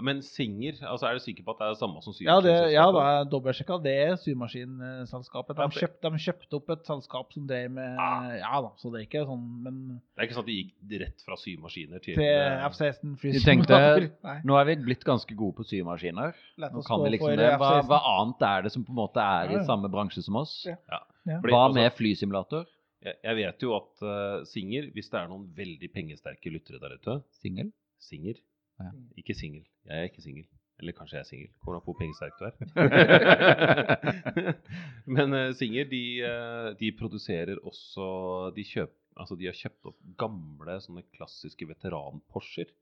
Men Singer, altså, er du sikker på at det er det samme som Syversen?
Ja, det, ja da, jeg dobbeltsjekka. Det er symaskinselskapet.
Ja,
De
det-
kjøpte, de kjøpte opp et selskap som drev med
Ah.
Ja da, så det er ikke sånn, men
Det er ikke sånn at de gikk rett fra symaskiner til,
til
eh,
F-16
tenkte-
flysimulator Nei,
Nå er vi blitt ganske gode på symaskiner.
lett
Nå
å stå
kan vi liksom
for
det. Hva,
F-16.
hva annet er det som på en måte er
Ja,
i
ja.
samme bransje som oss?
Ja.
fordi,
Hva
altså,
med flysimulator?
jeg, jeg vet jo at eh, Singer, hvis det er noen veldig pengesterke lyttere der ute
Singel?
Singer.
Ja.
Ikke singel. Jeg er ikke singel. Eller kanskje jeg er singel. Kommer an på hvor pengesterk du er. [LAUGHS] Men eh, Singer, de, eh, de produserer også de, kjøp, altså de har kjøpt opp gamle sånne klassiske veteran-Porscher.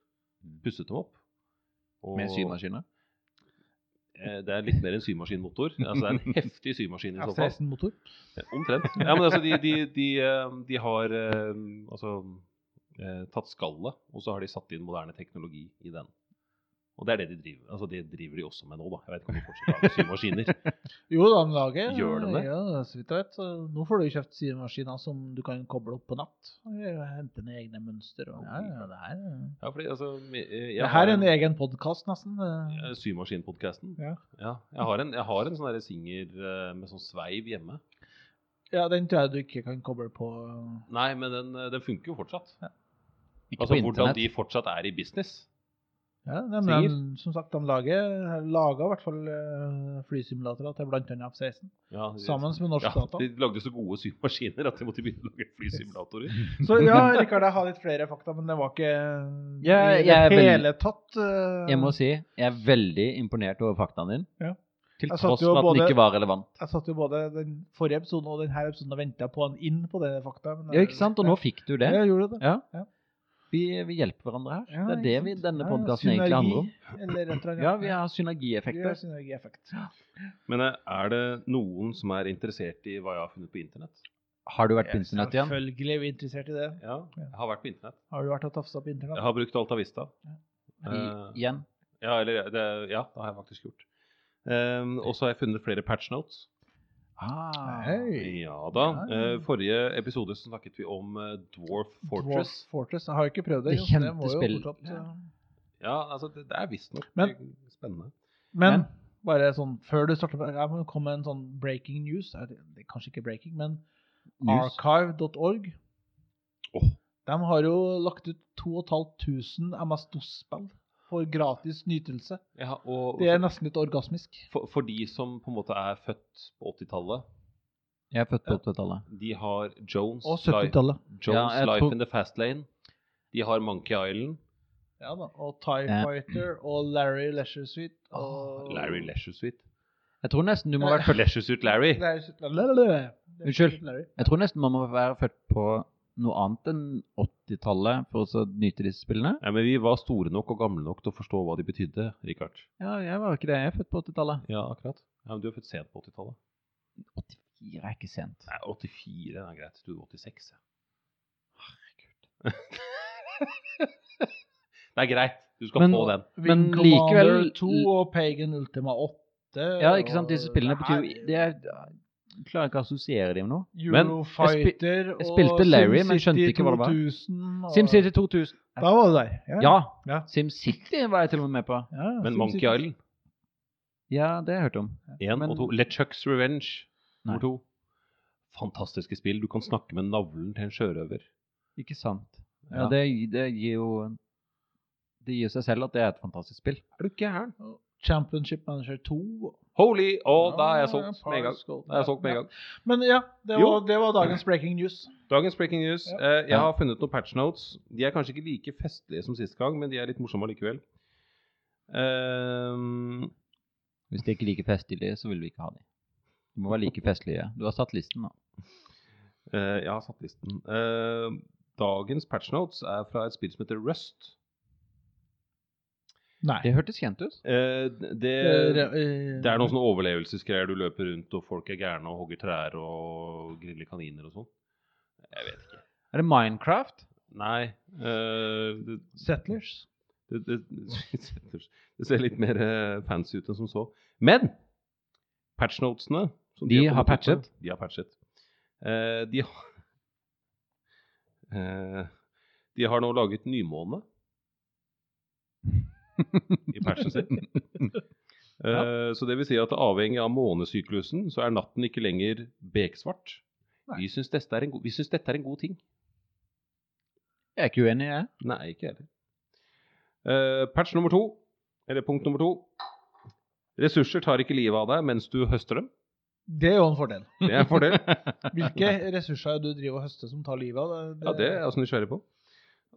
Pusset dem opp. Og,
Mm. Med symaskiner?
eh, Det er litt mer enn symaskinmotor. Altså det er en heftig symaskin i så fall.
F-16-motor.
Omtrent. Ja, men altså, de, de, de, eh, de har eh, altså eh, tatt skallet, og så har de satt inn moderne teknologi i den. Og det er det de driver Altså, det driver de også med nå, da. Jeg vet ikke om de fortsatt har med symaskiner.
Jo da, de lager
Gjør de det?
Ja, så vidt jeg vet. Så Nå får du jo kjøpt symaskiner som du kan koble opp på natt. og Hente ned egne mønster og Ja, ja, det her er
Ja, fordi, altså, jeg, jeg
Det
har
her er en egen podkast, nesten. eh.
eh, Symaskinpodcasten.
Ja.
Ja, jeg har en, jeg har en sånn derre singer eh, med sånn sveiv hjemme.
Ja, den tror jeg du ikke kan koble på
Nei, men den, eh, den funker jo fortsatt.
Ikke
Altså
på
hvordan de
internett?
fortsatt er i business.
ja, de,
Sier.
de, Som sagt, de lager, lager i hvert fall eh, flysimulatorer til bl.a.
[LAUGHS]
F-16.
Ja, de-
Sammen med norsk
ja,
data.
de lagde så gode symaskiner at de måtte begynne å lage flysimulatorer.
Så ja, Rikard, jeg har litt flere fakta, men det var ikke
Ja,
i det
jeg er veldig-
hele tatt. eh,
Jeg må si jeg er veldig imponert over faktaen din.
Ja.
Til
Jeg satt
tross
jo
for at den
både-
ikke var relevant.
jeg satt jo både den forrige episoden og denne episoden og venta på en inn på det fakta. Men
Ja, ikke sant? Og nå fikk du det.
Ja, jeg gjorde det.
Ja.
Ja.
Vi, vi hjelper hverandre her.
Ja,
det er det
ikke
vi,
sant?
denne
Ja,
podkasten egentlig handler om.
synergi, Eller et eller annet.
Ja, vi har
Vi har
synergieffekter.
synergieffekt.
Men eh, er det noen som er interessert i hva jeg har funnet på internett?
Har du vært på internett igjen?
Selvfølgelig er vi interessert i det.
Ja, jeg har vært på internett.
Har du vært og tafsa på internett?
Jeg har brukt Alta Vista.
I,
Eh, Ehm,
igjen?
ja, eller det, ja, det har jeg faktisk gjort. Um, og så har jeg funnet flere patch notes.
Ah,
Hei.
Ja da.
Ja, ja.
Eh, Forrige episode så snakket vi om eh, Dwarf Fortress.
Dwarf Fortress. Jeg har jo ikke prøvd det.
Det
så
kjente
må jo
spill.
fortsatt, eh,
Ja, altså, det, det er visstnok
Men-
spennende.
Men bare sånn før du starter med- Jeg må komme med en sånn breaking news. Er det, det er kanskje ikke breaking, men
news.
archive.org
Åh.
De har jo lagt ut 2500 MS-DOS-spill for gratis nytelse.
Ja, og
Det er nesten litt orgasmisk.
for, for de som på en måte er født på 80-tallet,
Jeg er født på 80-tallet.
de har Jones,
Og
Li-
70-tallet.
Jones
Ja, jeg
Life
tror-
in the Fast Lane. De har Monkey Island.
Ja da. Og Tie
Ja.
Fighter og Larry Leisure Suite og
Larry Leisure Suite.
Jeg tror nesten du må
[LAUGHS]
være født
Leisure Suite Larry.
Larry Suite- Lalalala.
Unnskyld.
Larry.
Jeg tror nesten man må være født på noe annet enn 80-tallet for å så nyte disse spillene.
Ja, men vi var store nok og gamle nok til å forstå hva de betydde, Richard.
Ja, jeg var ikke det. Jeg er født på 80-tallet.
Ja, akkurat. Ja, men du er født sent på 80-tallet.
84 er ikke sent.
Nei, 84 er greit. Du er 86, ja. Herregud. [LAUGHS] det er greit. Du skal
Men-
få den.
Men
Wing Commander
likevel-
2 og Pagan Ultima 8
Ja, ikke sant? Disse
og-
spillene
Nei,
betyr jo det er, Jeg klarer ikke å assosiere dem med noe.
Men
Eurofighter og
jeg spilte Larry, men skjønte ikke hva det var. SimCity 2000.
Da var du der.
Ja.
Ja.
SimCity var jeg til og med med på.
Ja,
Men
SimCity.
Monkey Island
Ja, det har jeg hørt om.
1
Men-
og 2. LeChucks Revenge
Nei.
nummer 2. Fantastiske spill. Du kan snakke med navlen til en sjørøver.
Ikke sant.
Ja.
Ja, det, det gir jo Det gir seg selv at det er et fantastisk spill.
Er du gæren?
Championship Manager 2.
Holy! Å, da er jeg
Ja,
solgt med en gang.
Paris Gold.
Da er jeg solgt med en gang.
Men ja, det
Jo.
var, det var dagens breaking news.
Dagens breaking news.
Ja.
Eh, jeg
Ja.
har funnet noen patch notes. De er kanskje ikke like festlige som sist gang, men de er litt morsomme allikevel. Ehm,
Hvis de ikke er like festlige, så vil vi ikke ha dem. De må være like festlige. Du har satt listen, da.
eh, jeg har satt listen. Ehm, dagens patch notes er fra et spill som heter Rust.
Nei. eh,
Det hørtes kjent ut.
Eh, det, Eh, det er noen sånne overlevelsesgreier du løper rundt, og folk er gærne og hogger trær og griller kaniner og sånn. Jeg vet ikke.
Er det Minecraft?
Nei. eh, det,
Settlers.
Det, det, det, det ser litt mer eh, fancy ut enn som så. Men patchnotesene som
De har
kommet
patchet?
ut med- De har patchet. Eh, de, har, Eh, de har nå laget nymåne i patchen sin.
[LAUGHS]
Eh, Så det vil si at avhengig av månesyklusen, så er natten ikke lenger beksvart.
Nei.
Vi syns dette, er en god- vi syns dette er en god ting.
Jeg er ikke uenig, jeg.
Nei, ikke heller. Eh, patch nummer to, eller punkt nummer to. Ressurser tar ikke livet av deg mens du høster dem.
Det er jo en fordel.
Det er en [LAUGHS] fordel.
Hvilke ressurser du driver og høster som tar livet av
Ja, det er jeg også nysgjerrig på.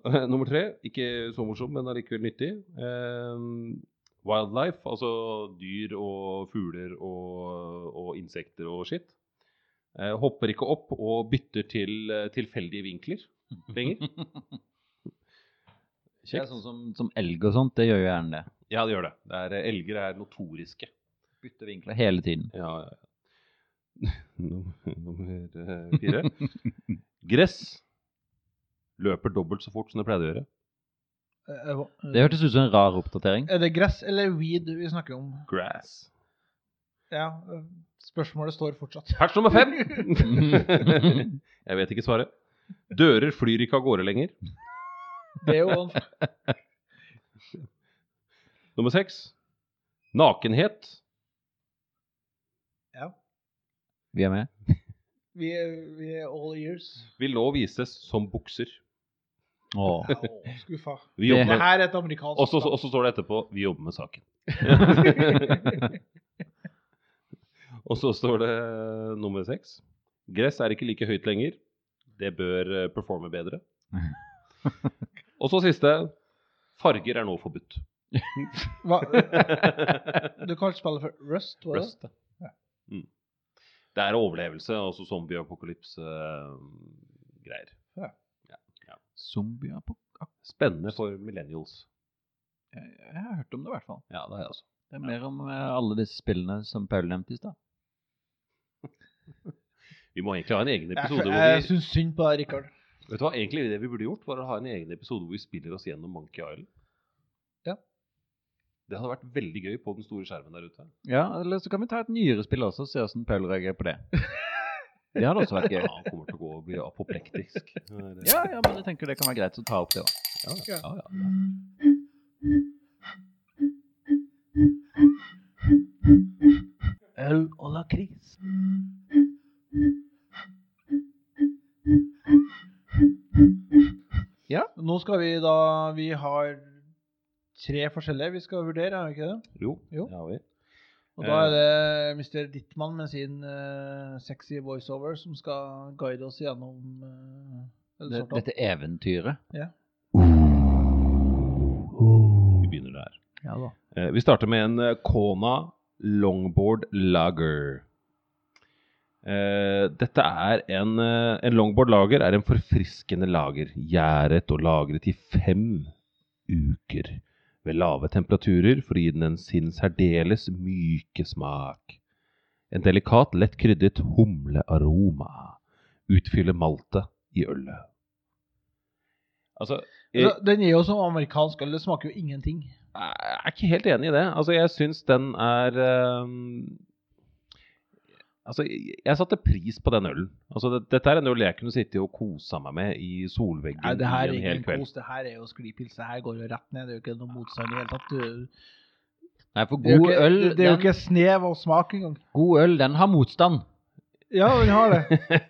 Eh, nummer tre, ikke så morsom, men allikevel nyttig. Eh, wildlife, altså dyr og fugler og, og insekter og skitt. Eh, hopper ikke opp og bytter til eh, tilfeldige vinkler [LAUGHS] lenger.
Det er sånn som, som elg og sånt, det gjør jo gjerne det.
Ja, det gjør det. det er, eh, elger er notoriske.
Bytter vinkler hele tiden.
Ja, ja, ja. [LAUGHS] Num- Nummer eh, fire. Gress løper dobbelt så fort som det pleide å gjøre.
Det hørtes ut som en rar
[LAUGHS]
oppdatering.
Eh,
[LAUGHS]
Er det gress eller weed vi snakker om?
Grass.
Ja, eh, spørsmålet står
[LAUGHS]
fortsatt.
Patch nummer
[LAUGHS]
fem! Jeg vet ikke svaret. Dører flyr ikke av gårde lenger.
Det er jo en
Nummer seks. Nakenhet.
Vi er med.
Vi er, vi er all ears.
Vil nå vises som bukser.
Åh.
Au, skuffa.
Vi
Det-
jobber
Det
med,
her er et amerikansk
og så og så står det etterpå 'Vi jobber med [LAUGHS] saken'. og så står det eh, nummer seks. Gress er ikke like høyt lenger. Det bør eh, performe [LAUGHS] bedre. Og så siste. Farger er nå [LAUGHS] forbudt.
Hva, eh, du kalte spillet for Rust, var det?
Rust, ja. Mm. Det er overlevelse, altså eh, zombie-apokalypse-greier.
Zombier på
Spennende for millennials.
Jeg har hørt om det, i hvert fall.
Ja, det altså. har jeg også.
Det er mer om eh, alle disse spillene som Paul nevnte i stad.
Vi må egentlig ha en egen
Jeg,
episode hvor
jeg
vi
syns synd på deg, Rikard.
Vet du hva, egentlig det vi burde gjort, var å ha en egen episode hvor vi spiller oss gjennom Monkey Island.
Ja.
Det hadde vært veldig gøy på den store skjermen der ute.
Ja, eller så kan vi ta et nyere spill også, og se hvordan Paul reagerer på det. Det hadde også vært gøy.
Ja, han kommer til å gå og bli apoplektisk. Det-
[LAUGHS] Ja, ja, men jeg tenker det kan være greit å ta opp det òg.
ja, ja, ja.
Øl og lakris.
Ja.
Nå skal vi da Vi har tre forskjellige vi skal vurdere, er det ikke det?
Jo,
Jo.
det har vi.
Og
Eh.
da er det Mr. Dittmann med sin eh, sexy voiceover som skal guide oss gjennom uh,
Det, dette eventyret.
Vi begynner der.
Ja da.
Eh, Vi starter med en eh, Kona Longboard Lager. Eh, Dette er en, eh, en longboard lager er en forfriskende lager, gjæret og lagret i fem uker ved lave temperaturer for å gi den en sin særdeles myke smak. En delikat, lett kryddet humlearoma utfyller maltet i ølet. Altså, eh,
Altså, den er jo som amerikansk øl, det smaker jo ingenting.
jeg er ikke helt enig i det. Altså, jeg syns den er ehm, Altså, jeg jeg satte pris på den ølen. Altså, det, dette er en øl jeg kunne sitte og kosa meg med i solveggen
Nei, det her
i
er
en hel
ingen
kveld.
kos, det her er jo sklipils. Det her går jo rett ned. Det er jo ikke noe motstand i det hele tatt. Du-
Nei, for
Det er jo
god
ikke,
øl,
det, det er jo
den,
ikke snev av smak engang.
god øl, den har motstand.
Ja, den har
[LAUGHS]
det.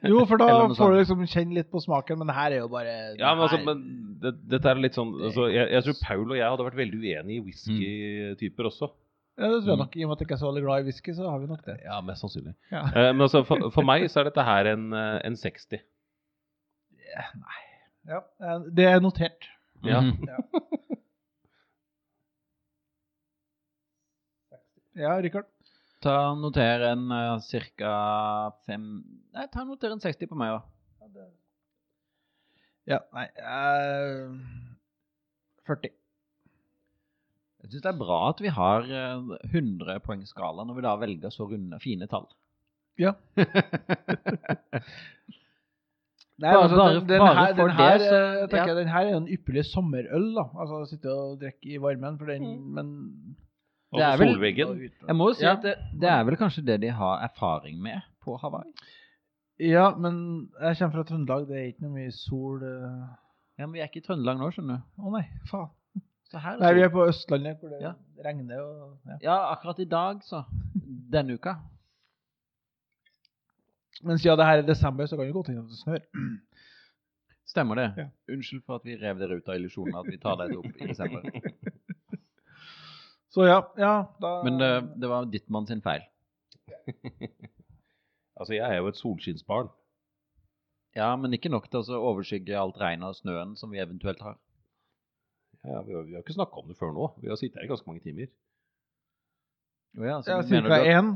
Jo, for da
Eller noe
får du
sånt.
liksom kjenne litt på smaken, men det her er jo bare det
Ja, men altså,
her-
men det, dette er litt sånn altså, jeg, jeg tror Paul og jeg hadde vært veldig uenige i whiskytyper også.
ja, det tror jeg
Mm.
nok. I og med at jeg ikke er så veldig glad i whisky, så har vi nok det.
Ja, mest sannsynlig.
Ja.
Eh, men altså, for, for meg så er dette her en, eh, en 60.
Ja, eh, Det er notert.
Ja.
Mhm.
Ja, Rikard.
Ta og Noter en uh, ca. fem Nei, ta og noter en 60 på meg òg.
Ja, nei eh, 40.
Jeg syns det er bra at vi har eh, 100 poengskala når vi da velger så runde, fine tall.
Nei,
Bare-
altså, den,
bare-
den,
bare
her,
for
den, her,
det,
eh,
så-
tenker
ja.
jeg, den her er jo en ypperlig sommerøl. da Altså å sitte og drikke i varmen, for den Men
Og
Det er vel-
solveggen.
Jeg må jo si
Ja.
at det, det er vel kanskje det de har erfaring med på Hawaii.
Ja, men jeg kommer fra Trøndelag, det er ikke noe mye sol eh.
Ja, Men vi er ikke i Trøndelag nå, skjønner du.
Å nei, faen.
Så her
Nei, vi
er
er på Østlandet, hvor det
Ja.
regner og ja.
Ja, akkurat i dag, så. Denne uka.
Men siden det her er desember, så kan det godt hende at det snør.
Stemmer det.
Ja.
Unnskyld for at vi rev dere ut av illusjonen at vi tar dette opp i [LAUGHS] desember.
Så ja, ja da
Men det,
eh,
det var Dittmann sin feil.
Altså, jeg er jo et solskinnsbarn.
Ja, men ikke nok til å så overskygge alt regnet og snøen som vi eventuelt har.
Ja, vi, har, vi har ikke snakka om det før nå. Vi har sittet her i ganske mange timer.
Å ja, så
ja,
du mener
Cirka
du at-
én.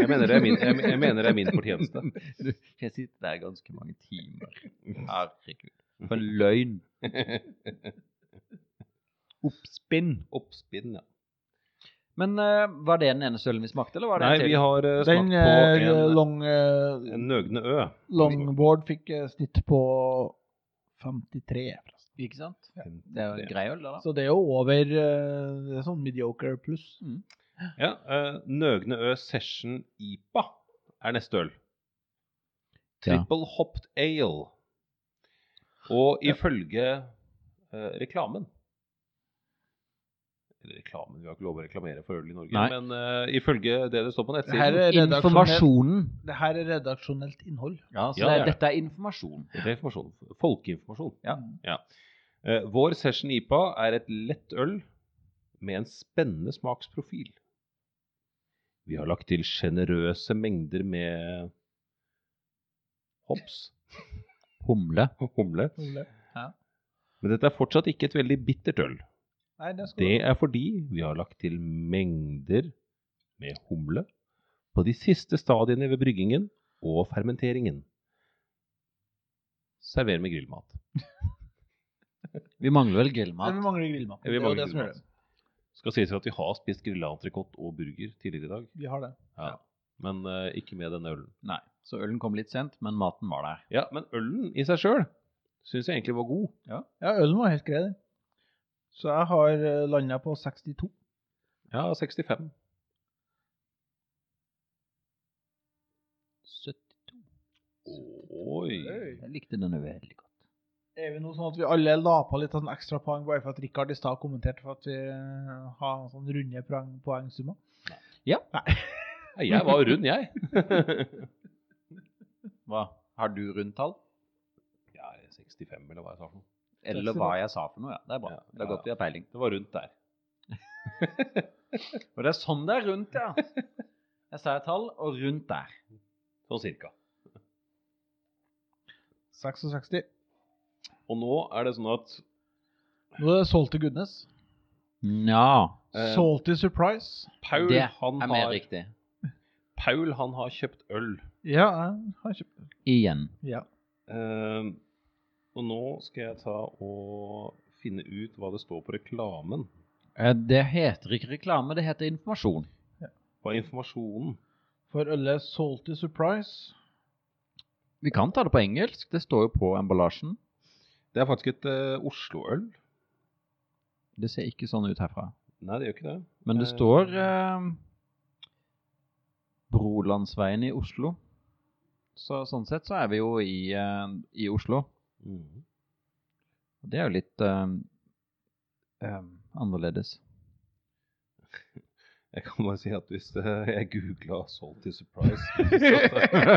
Jeg mener det er min, jeg, jeg mener det er min
[LAUGHS]
[LAUGHS] fortjeneste.
Du, jeg sitter der ganske mange timer. Herregud. For en løgn. Oppspinn.
Oppspinn, ja.
Men eh, var det den eneste ølen vi smakte, eller var det
Nei,
en til?
vi har eh,
Den
smakt
eh,
på en,
long, eh,
en nøgne ø.
longboard fikk eh, snitt på 53.
Ikke sant? Det er jo en grei øl, det da.
Så det er jo over eh, Det er sånn mediocre pluss.
Ja, eh, Nøgne ø Session IPA er neste øl.
Ja.
Triple Hopped Ale. Og ifølge eh, reklamen Eller reklamen, vi har ikke lov å reklamere for øl i Norge.
Nei.
Men eh, ifølge det det står på nettsiden
Her er redaksjonelt-
Informasjonen.
Det her er redaksjonelt innhold.
Ja, så
Ja,
det
det
er,
er det.
dette er informasjon.
Det er informasjon. Folkeinformasjon.
Ja.
Mm.
Eh, vår Session IPA er et lett øl med en spennende smaksprofil. Vi har lagt til sjenerøse mengder med hops [LAUGHS]
Humle.
og humle.
Nei,
Men dette er fortsatt ikke et veldig bittert øl.
det skal
Det er fordi vi har lagt til mengder med humle på de siste stadiene ved bryggingen og fermenteringen. Server med grillmat.
Vi mangler vel
Men vi
grillmat.
mangler grillmat.
Ja,
Det
vi
er jo
mangler
det som gjør
grillmat.
det.
Skal sies at vi har spist grillantrekott og burger tidligere i dag.
Vi har det.
Ja. Men eh, ikke med denne ølen.
Nei, så ølen kom litt sent, men maten var der.
Ja, men ølen i seg sjøl syns jeg egentlig var god.
eh, Ja, ølen var helt grei, den. Så jeg har landa på 62.
Ja, 65.
72.
Oi.
Jeg likte denne veldig godt.
Er vi nå sånn at vi alle la på litt sånn ekstrapoeng bare for at Rikard i stad kommenterte for at vi har sånn runde poeng, poengsummer?
Nei, Jeg var rund, [LAUGHS] jeg.
Hva? Har du rundtall?
Ja, 65 eller hva jeg sa for noe.
Eller hva jeg sa for noe, ja. Det er bra.
Ja,
det er
ja,
godt vi har peiling.
Det var rundt der.
Og det er sånn det er rundt, ja. [LAUGHS] Jeg sa et tall, og rundt der.
Sånn cirka.
66.
Og nå er det sånn at
Nå er det solgt til Goodness.
Nja.
eh,
Solgt til Surprise.
Paul,
Det
han
er mer
har,
riktig.
Paul han har kjøpt øl.
Ja, jeg har kjøpt den.
Igjen.
Ja.
Eh, og nå skal jeg ta og finne ut hva det står på reklamen.
Eh, Det heter ikke reklame, det heter informasjon.
Hva er informasjonen?
For ølet solgt til Surprise.
Vi kan ta det på engelsk, det står jo på emballasjen.
Det er faktisk et eh, Oslo-øl.
Det ser ikke sånn ut herfra.
Nei, det gjør ikke det.
Men det
Eh.
står eh, Brolandsveien i Oslo. Så sånn sett så er vi jo i, eh, i Oslo.
Mhm.
Og det er jo litt eh, eh, annerledes. [LAUGHS]
Jeg kan bare si at hvis eh, jeg googla 'Salt to Surprise'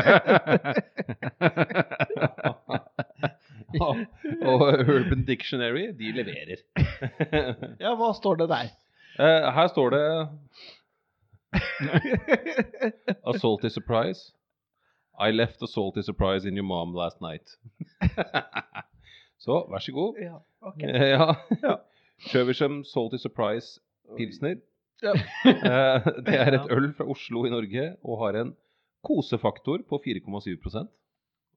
og, og Urban Dictionary, de leverer.
Ja, hva står det der?
Eh, her står det 'A salty surprise'. I left a salty surprise in your mom last night. Så vær så god.
Ja, ok.
Eh, [LAUGHS] Ja. Sjøvirsem Salty Surprise Pilsner.
Ja.
[LAUGHS] Eh, Det er [LAUGHS] et øl fra Oslo i Norge og har en kosefaktor på 4,7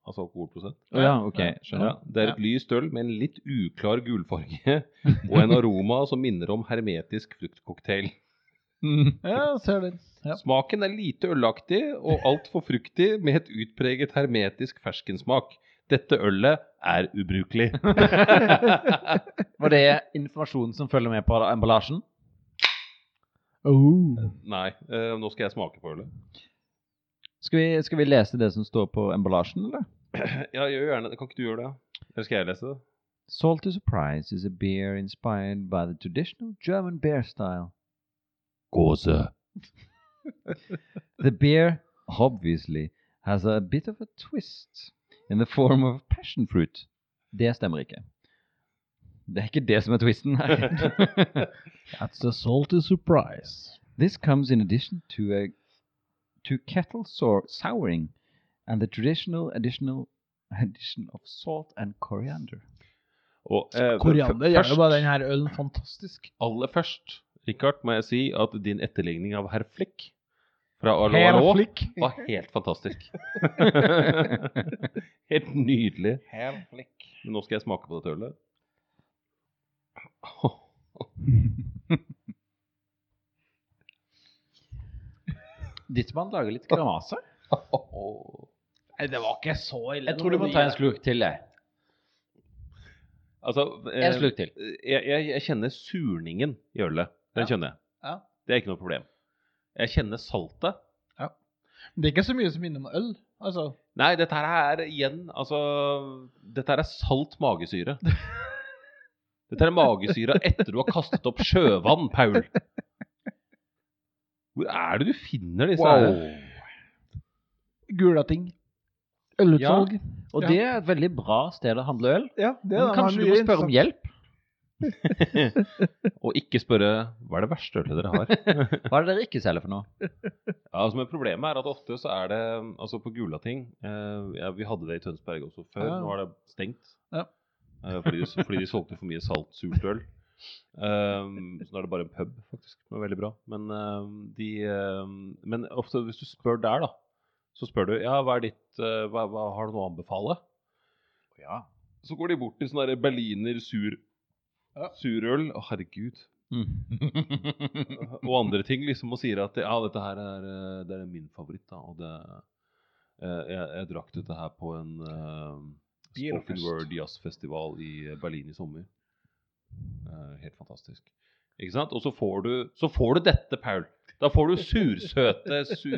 Altså alkoholprosent.
Å ja, ok,
Ja,
skjønner.
det er et lyst øl med en litt uklar gulfarge [LAUGHS] og en aroma som minner om hermetisk fruktcocktail.
Ja, ser den. Ja.
Smaken er lite ølaktig og altfor fruktig med et utpreget hermetisk ferskensmak. Dette ølet er ubrukelig.
[LAUGHS]
[LAUGHS]
Var det informasjonen som følger med på emballasjen?
Oh.
Nei, eh, nå skal jeg smake på ølet.
Skal vi, skal vi lese det som står på emballasjen, eller?
Ja, gjør gjerne det. Kan ikke du gjøre det? Eller skal jeg lese det?
Salty Surprise is a beer inspired by the traditional German beer style. Gose. the beer obviously has a bit of a twist in the form of passion fruit. Det stemmer ikke. Det er ikke det som er twisten
[LAUGHS]
her.
That's a salty surprise.
This comes in addition to a to kettle sour, souring and the traditional additional addition of salt and coriander.
[LAUGHS] Og, eh,
Koriander gjør jo
først-
bare den her ølen fantastisk.
Aller først, Richard, må jeg si at din etterligning av herr Flick fra Arlo Arlo
Herflikk.
var helt fantastisk. [LAUGHS] helt nydelig. Men nå skal jeg smake på dette ølet.
Dittmann lager litt grimaser.
Nei, det var ikke så ille.
Jeg tror du må ta en slurk til, jeg.
Altså, eh,
En slurk til.
jeg, jeg, jeg kjenner surningen i ølet. Den kjenner jeg.
Ja.
Det er ikke noe problem. Jeg kjenner saltet.
Det er ikke så mye som minner om øl. Altså,
Nei, dette her er igjen Altså, dette her er salt magesyre. Dette er magesyra etter du har kastet opp sjøvann, Paul. Hvor er det du finner disse her?
gula ting. Ølutsalg.
Og det er et veldig bra sted å handle øl.
Ja, det
Men kanskje du må spørre om hjelp?
Og ikke spørre hva er det verste ølet dere har.
Hva er det dere ikke selger for noe?
Ja, altså, men Problemet er at ofte så er det Altså på Gulating eh, ja, Vi hadde det i Tønsberg også før.
Ja.
Nå er det stengt.
Ja.
Eh, fordi, de- fordi de solgte for mye salt, surt øl. Um, så nå er det bare en pub, faktisk. Det var veldig bra. Men, eh, de, eh, men ofte hvis du spør der, da, så spør du ja, hva er ditt eh, hva, hva Har du noe å anbefale?
Ja.
Så går de bort til sånn derre berliner sur
Ja.
surøl. Å, herregud. og andre ting liksom og sier at ja, dette her er, eh, det er min favoritt. da, og det, eh, jeg, jeg drakk dette her på en eh, Spoken
Bierfest.
Word jazzfestival i Berlin i sommer. Eh, helt Eh, fantastisk. Ikke sant? Og så får du, så får du dette, Paul. Da får du sursøte, su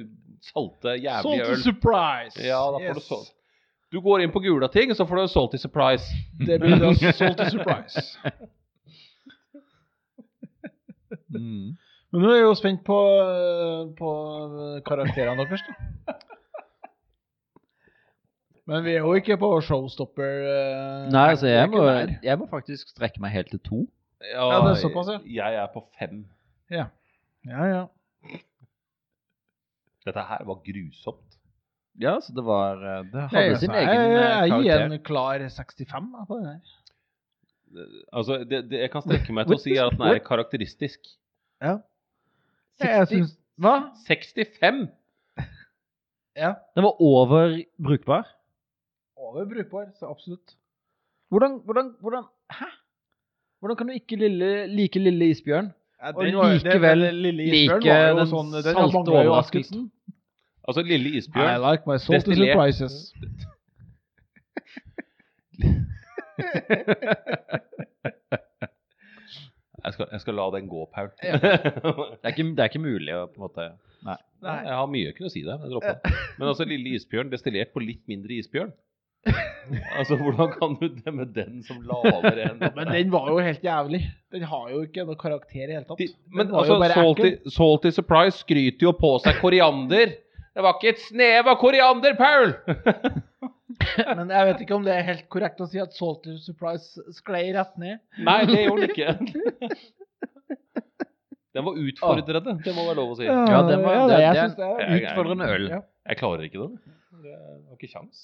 salte, jævlige
Salty
øl.
surprise!
Ja, da får du salt. Du går inn på gula ting, så får du en salty surprise.
Det blir da salty surprise. Mm. Men nå er jeg jo spent på, eh, på karakterene deres, da. Men vi er jo ikke på showstopper. eh,
Nei, altså, jeg
vi
må,
er ikke der.
jeg må faktisk strekke meg helt til to.
Ja, det er såpass, ja.
Jeg er på fem.
Ja, ja.
Dette her var grusomt.
Ja, så det var eh, Det
Nei,
hadde sin
altså,
egen
jeg,
eh,
jeg gir
karakter.
en klar 65 da, på den her.
Altså, det, det, jeg kan strekke meg til å si at den er karakteristisk.
Jeg
60.
synes- Hva?
65!
Ja.
Den var over brukbar.
Over brukbar, så absolutt.
Hvordan, hvordan, hvordan Hæ? Hvordan kan du ikke lille, like Lille Isbjørn?
Ja,
Og likevel like den
sånn-
salte overraskelsen? [LAUGHS]
Altså, Lille
I
Isbjørn
like my salty
Destillert.
surprises.
jeg skal, jeg skal la den gå, Paul.
Ja.
[LAUGHS]
Det er, ikke, det er ikke mulig å på en måte
Nei.
Jeg har mye å kunne si der. men Jeg dropper det. Men altså, Lille Isbjørn destillert på litt mindre isbjørn. Altså, Hvordan kan du dømme den som lavere enn
[LAUGHS] Men den var jo helt jævlig. Den har jo ikke noe karakter i det hele tatt.
De,
Den
men
var jo
altså,
bare
salty,
ekkel.
salty Surprise skryter jo på seg koriander. Det var ikke et snev av koriander, Paul!
Men jeg vet ikke om det er helt korrekt å si at Salty Surprise sklei rett ned.
Nei, det gjorde
[LAUGHS]
den ikke. Den var utfordrende, det må være lov å si.
Ja, den var- det-
jeg
det er
synes det
en
er
utfordrende øl.
Ja.
Jeg klarer ikke den. Det var ikke kjangs.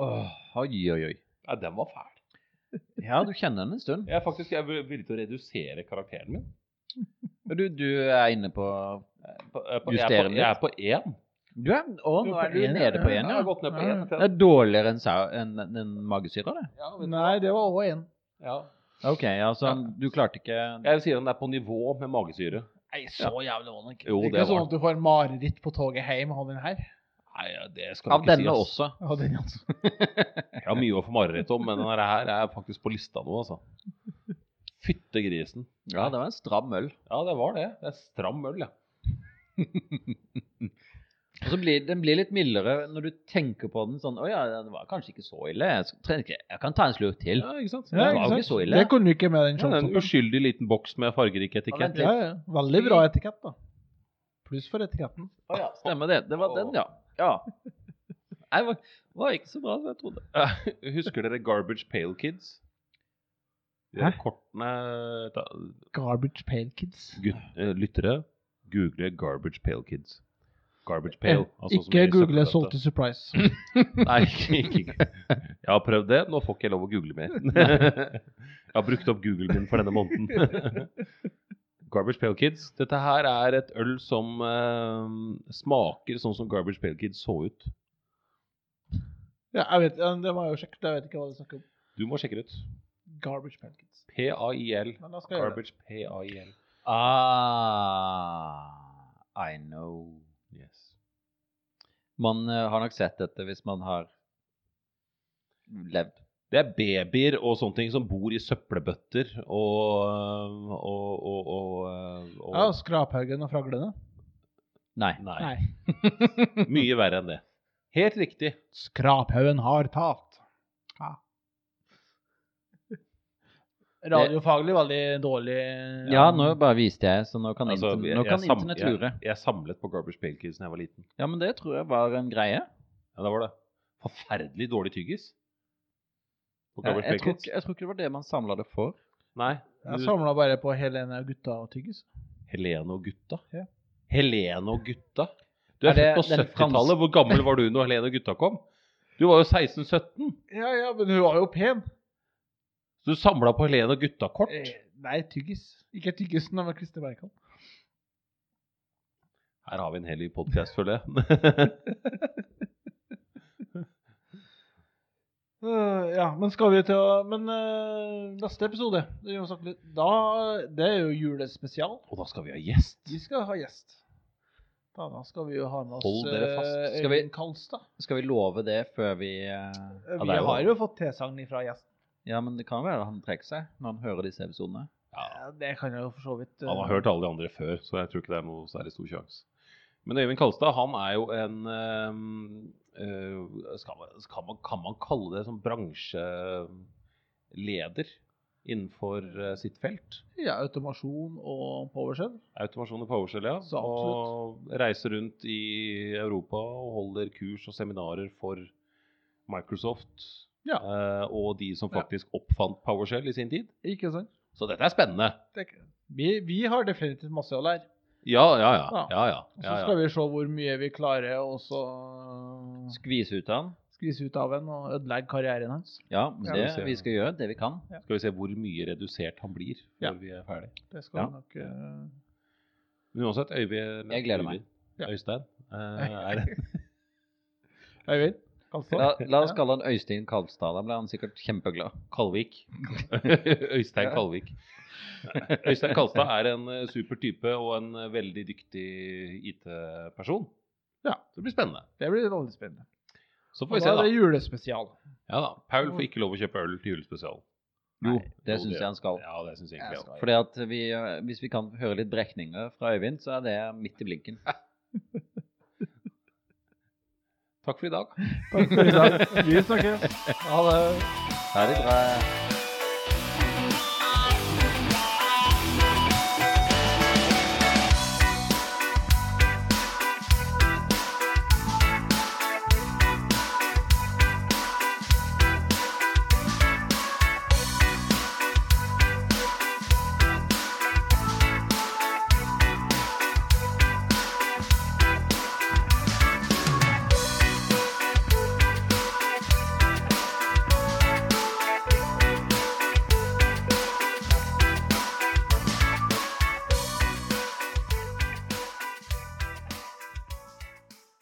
Åh, oi, oi, oi.
Nei, den var fæl.
Ja, du kjenner den en stund.
Jeg er faktisk jeg er villig til å redusere karakteren min.
Men du, du er inne på
På, jeg er på-
Justere den
jeg er på jeg er på én.
Du er, å, nå er du
en,
nede på én,
Jeg
ja.
har gått ned på én.
Det er dårligere enn sau- enn enn magesyra, det.
Ja, vet du.
Nei, det var òg en.
Ja.
OK, altså, du klarte ikke
Jeg sier den er på nivå med magesyre.
Nei, så jævlig var den ikke.
Jo,
det er
det
ikke
var
sånn at du får mareritt på toget hjem av den her.
Nei, ja, det skal
Av
du ikke si.
denne
ass.
også.
Ja, den, altså.
Jeg har mye å få mareritt om, men denne her er faktisk på lista nå, altså. Fyttegrisen.
Ja, det var en stram øl.
Ja, det var det. Det er stram øl, ja.
Og så blir Den blir litt mildere når du tenker på den sånn Å ja, den var kanskje ikke så ille. Jeg, skal- trenger ikke, jeg kan ta en slurk til.
ja ikke sant?
Ja,
Den var
ikke
jo
sant?
så ille.
Det kunne du ikke med den
ikke sånn. En
showstoppen.
uskyldig liten boks med fargerik
Ja,
etikett.
men-
Ja, ja. Veldig bra etikett, da. Pluss for etiketten.
Å ja, stemmer det. Det var den, ja. Ja. Nei, det var, var ikke så bra som jeg trodde.
[LAUGHS] Husker dere Garbage Pale Kids? De der
Hæ?
kortene da,
Garbage Pale Kids.
gut, eh, Lyttere, google Garbage Pale Kids. Garbage Pale. altså som
Eh, ikke
i
google
søppelbøtte.
Salty Surprise. [LAUGHS]
Nei, ikke, ikke. Jeg har prøvd det. Nå får ikke jeg lov å google
[LAUGHS]
mer. [LAUGHS] Jeg har brukt opp Google min for denne måneden. [LAUGHS] Garbage Pale Kids. Dette her er et øl som eh, smaker sånn som Garbage Pale Kids så ut.
Ja, jeg vet, ja, det var jo sjekket, jeg vet ikke hva du snakker om.
Du må sjekke det ut.
Garbage Pale Kids.
P-A-I-L.
Men da skal jeg gjøre det.
Garbage P-A-I-L.
Ah, I know.
Yes.
Man eh, har nok sett dette hvis man har levd.
Det er babyer og sånne ting som bor i søppelbøtter og og, og, og, og,
Ja, altså. Skraphaugen og Fraglene.
Nei.
Nei. Mye verre enn det. Helt riktig.
Skraphaugen har talt. Ja. [LAUGHS] Radiofaglig veldig dårlig. eh,
Ja, nå bare viste jeg, så nå kan,
Altså,
intern-
jeg-
nå
jeg
kan
sam-
internett
jeg-
lure.
Jeg samlet på Garbage Pail Kids da jeg var liten.
Ja, men det tror jeg var en greie.
Ja, det var det. Forferdelig dårlig tyggis. På
Jeg,
Garbage Pail
jeg, tror,
Kids.
ikke- jeg tror ikke det var det man samla det for.
Nei.
Jeg
du-
samla bare på Helene og gutta og tyggis.
Helene og gutta?
Ja.
Helene og gutta? Du er,
Er det
født på
den
70-tallet. Hvor gammel var du når Helene og gutta kom? Du var jo 16-17.
Ja, ja, men hun var jo pen.
Så du samla på Helene og gutta-kort.
Eh, Nei, tyggis. Ikke tyggisen, men Christer Berkan.
Her har vi en hel podkast, føler
[LAUGHS]
jeg.
Øh, ja, men skal vi til å Men øh, neste episode vi må snakke litt, da, Det er jo julespesial.
og da skal vi ha gjest.
Vi skal ha gjest. Da, da skal vi jo ha med oss
Hold dere fast.
øh,
Skal vi-
Øyvind Kalstad.
Skal vi love det før vi eh,
Vi
det er jo-
har jo fått tilsagn fra gjesten.
Ja, men det kan være han trekker seg når han hører disse episodene.
Ja,
Det kan jeg jo for så vidt eh,
han har hørt alle de andre før, så jeg tror ikke det er noe særlig stor sjanse. Men Øyvind Kalstad han er jo en eh, eh, skal man, skal man, Kan man kalle det som bransjeleder innenfor eh, sitt felt?
ja, automasjon og PowerShell.
Automasjon og PowerShell, ja.
Så absolutt.
og reiser rundt i Europa og holder kurs og seminarer for Microsoft
Ja.
eh, og de som faktisk oppfant PowerShell i sin tid.
Ikke sant?
Så dette er spennende.
Det er ikke- Vi, vi har definitivt masse å lære.
Ja, ja, ja.
Ja.
ja, ja.
Og så
ja,
skal
ja.
vi se hvor mye vi klarer å så
Skvise ut av den.
skvise ut av en og ødelegge karrieren hans.
Ja, men
Ja,
det,
vi ser.
vi skal gjøre det vi kan.
Skal vi se hvor mye redusert han blir
Ja.
når vi er ferdig.
Det skal
Ja.
vi nok eh,
Men uansett, Øyvind
Jeg gleder meg.
Øyvind-
Ja.
Øystein eh, er
Øyvind? Altså,
La, la oss
Ja.
kalle han Øystein Kalstad. Da blir han sikkert kjempeglad.
Kalvik. [LAUGHS] Øystein Kalvik. Øystein Kalstad er en eh, super type og en eh, veldig dyktig IT-person.
Ja.
Det blir spennende.
Det blir veldig spennende.
Så
Og
får vi
da
se,
er
da.
det julespesial.
Ja da. Paul får ikke lov å kjøpe øl til julespesial.
Jo,
Nei,
det
jo,
syns
det-
jeg han skal.
Ja, det syns jeg
Jeg
egentlig.
skal-
Fordi at vi, eh, Hvis vi kan høre litt brekninger fra Øyvind, så er det midt i blinken.
Takk for i dag.
Takk for i dag. Vi snakkes. Ha det.
Ferdig bra.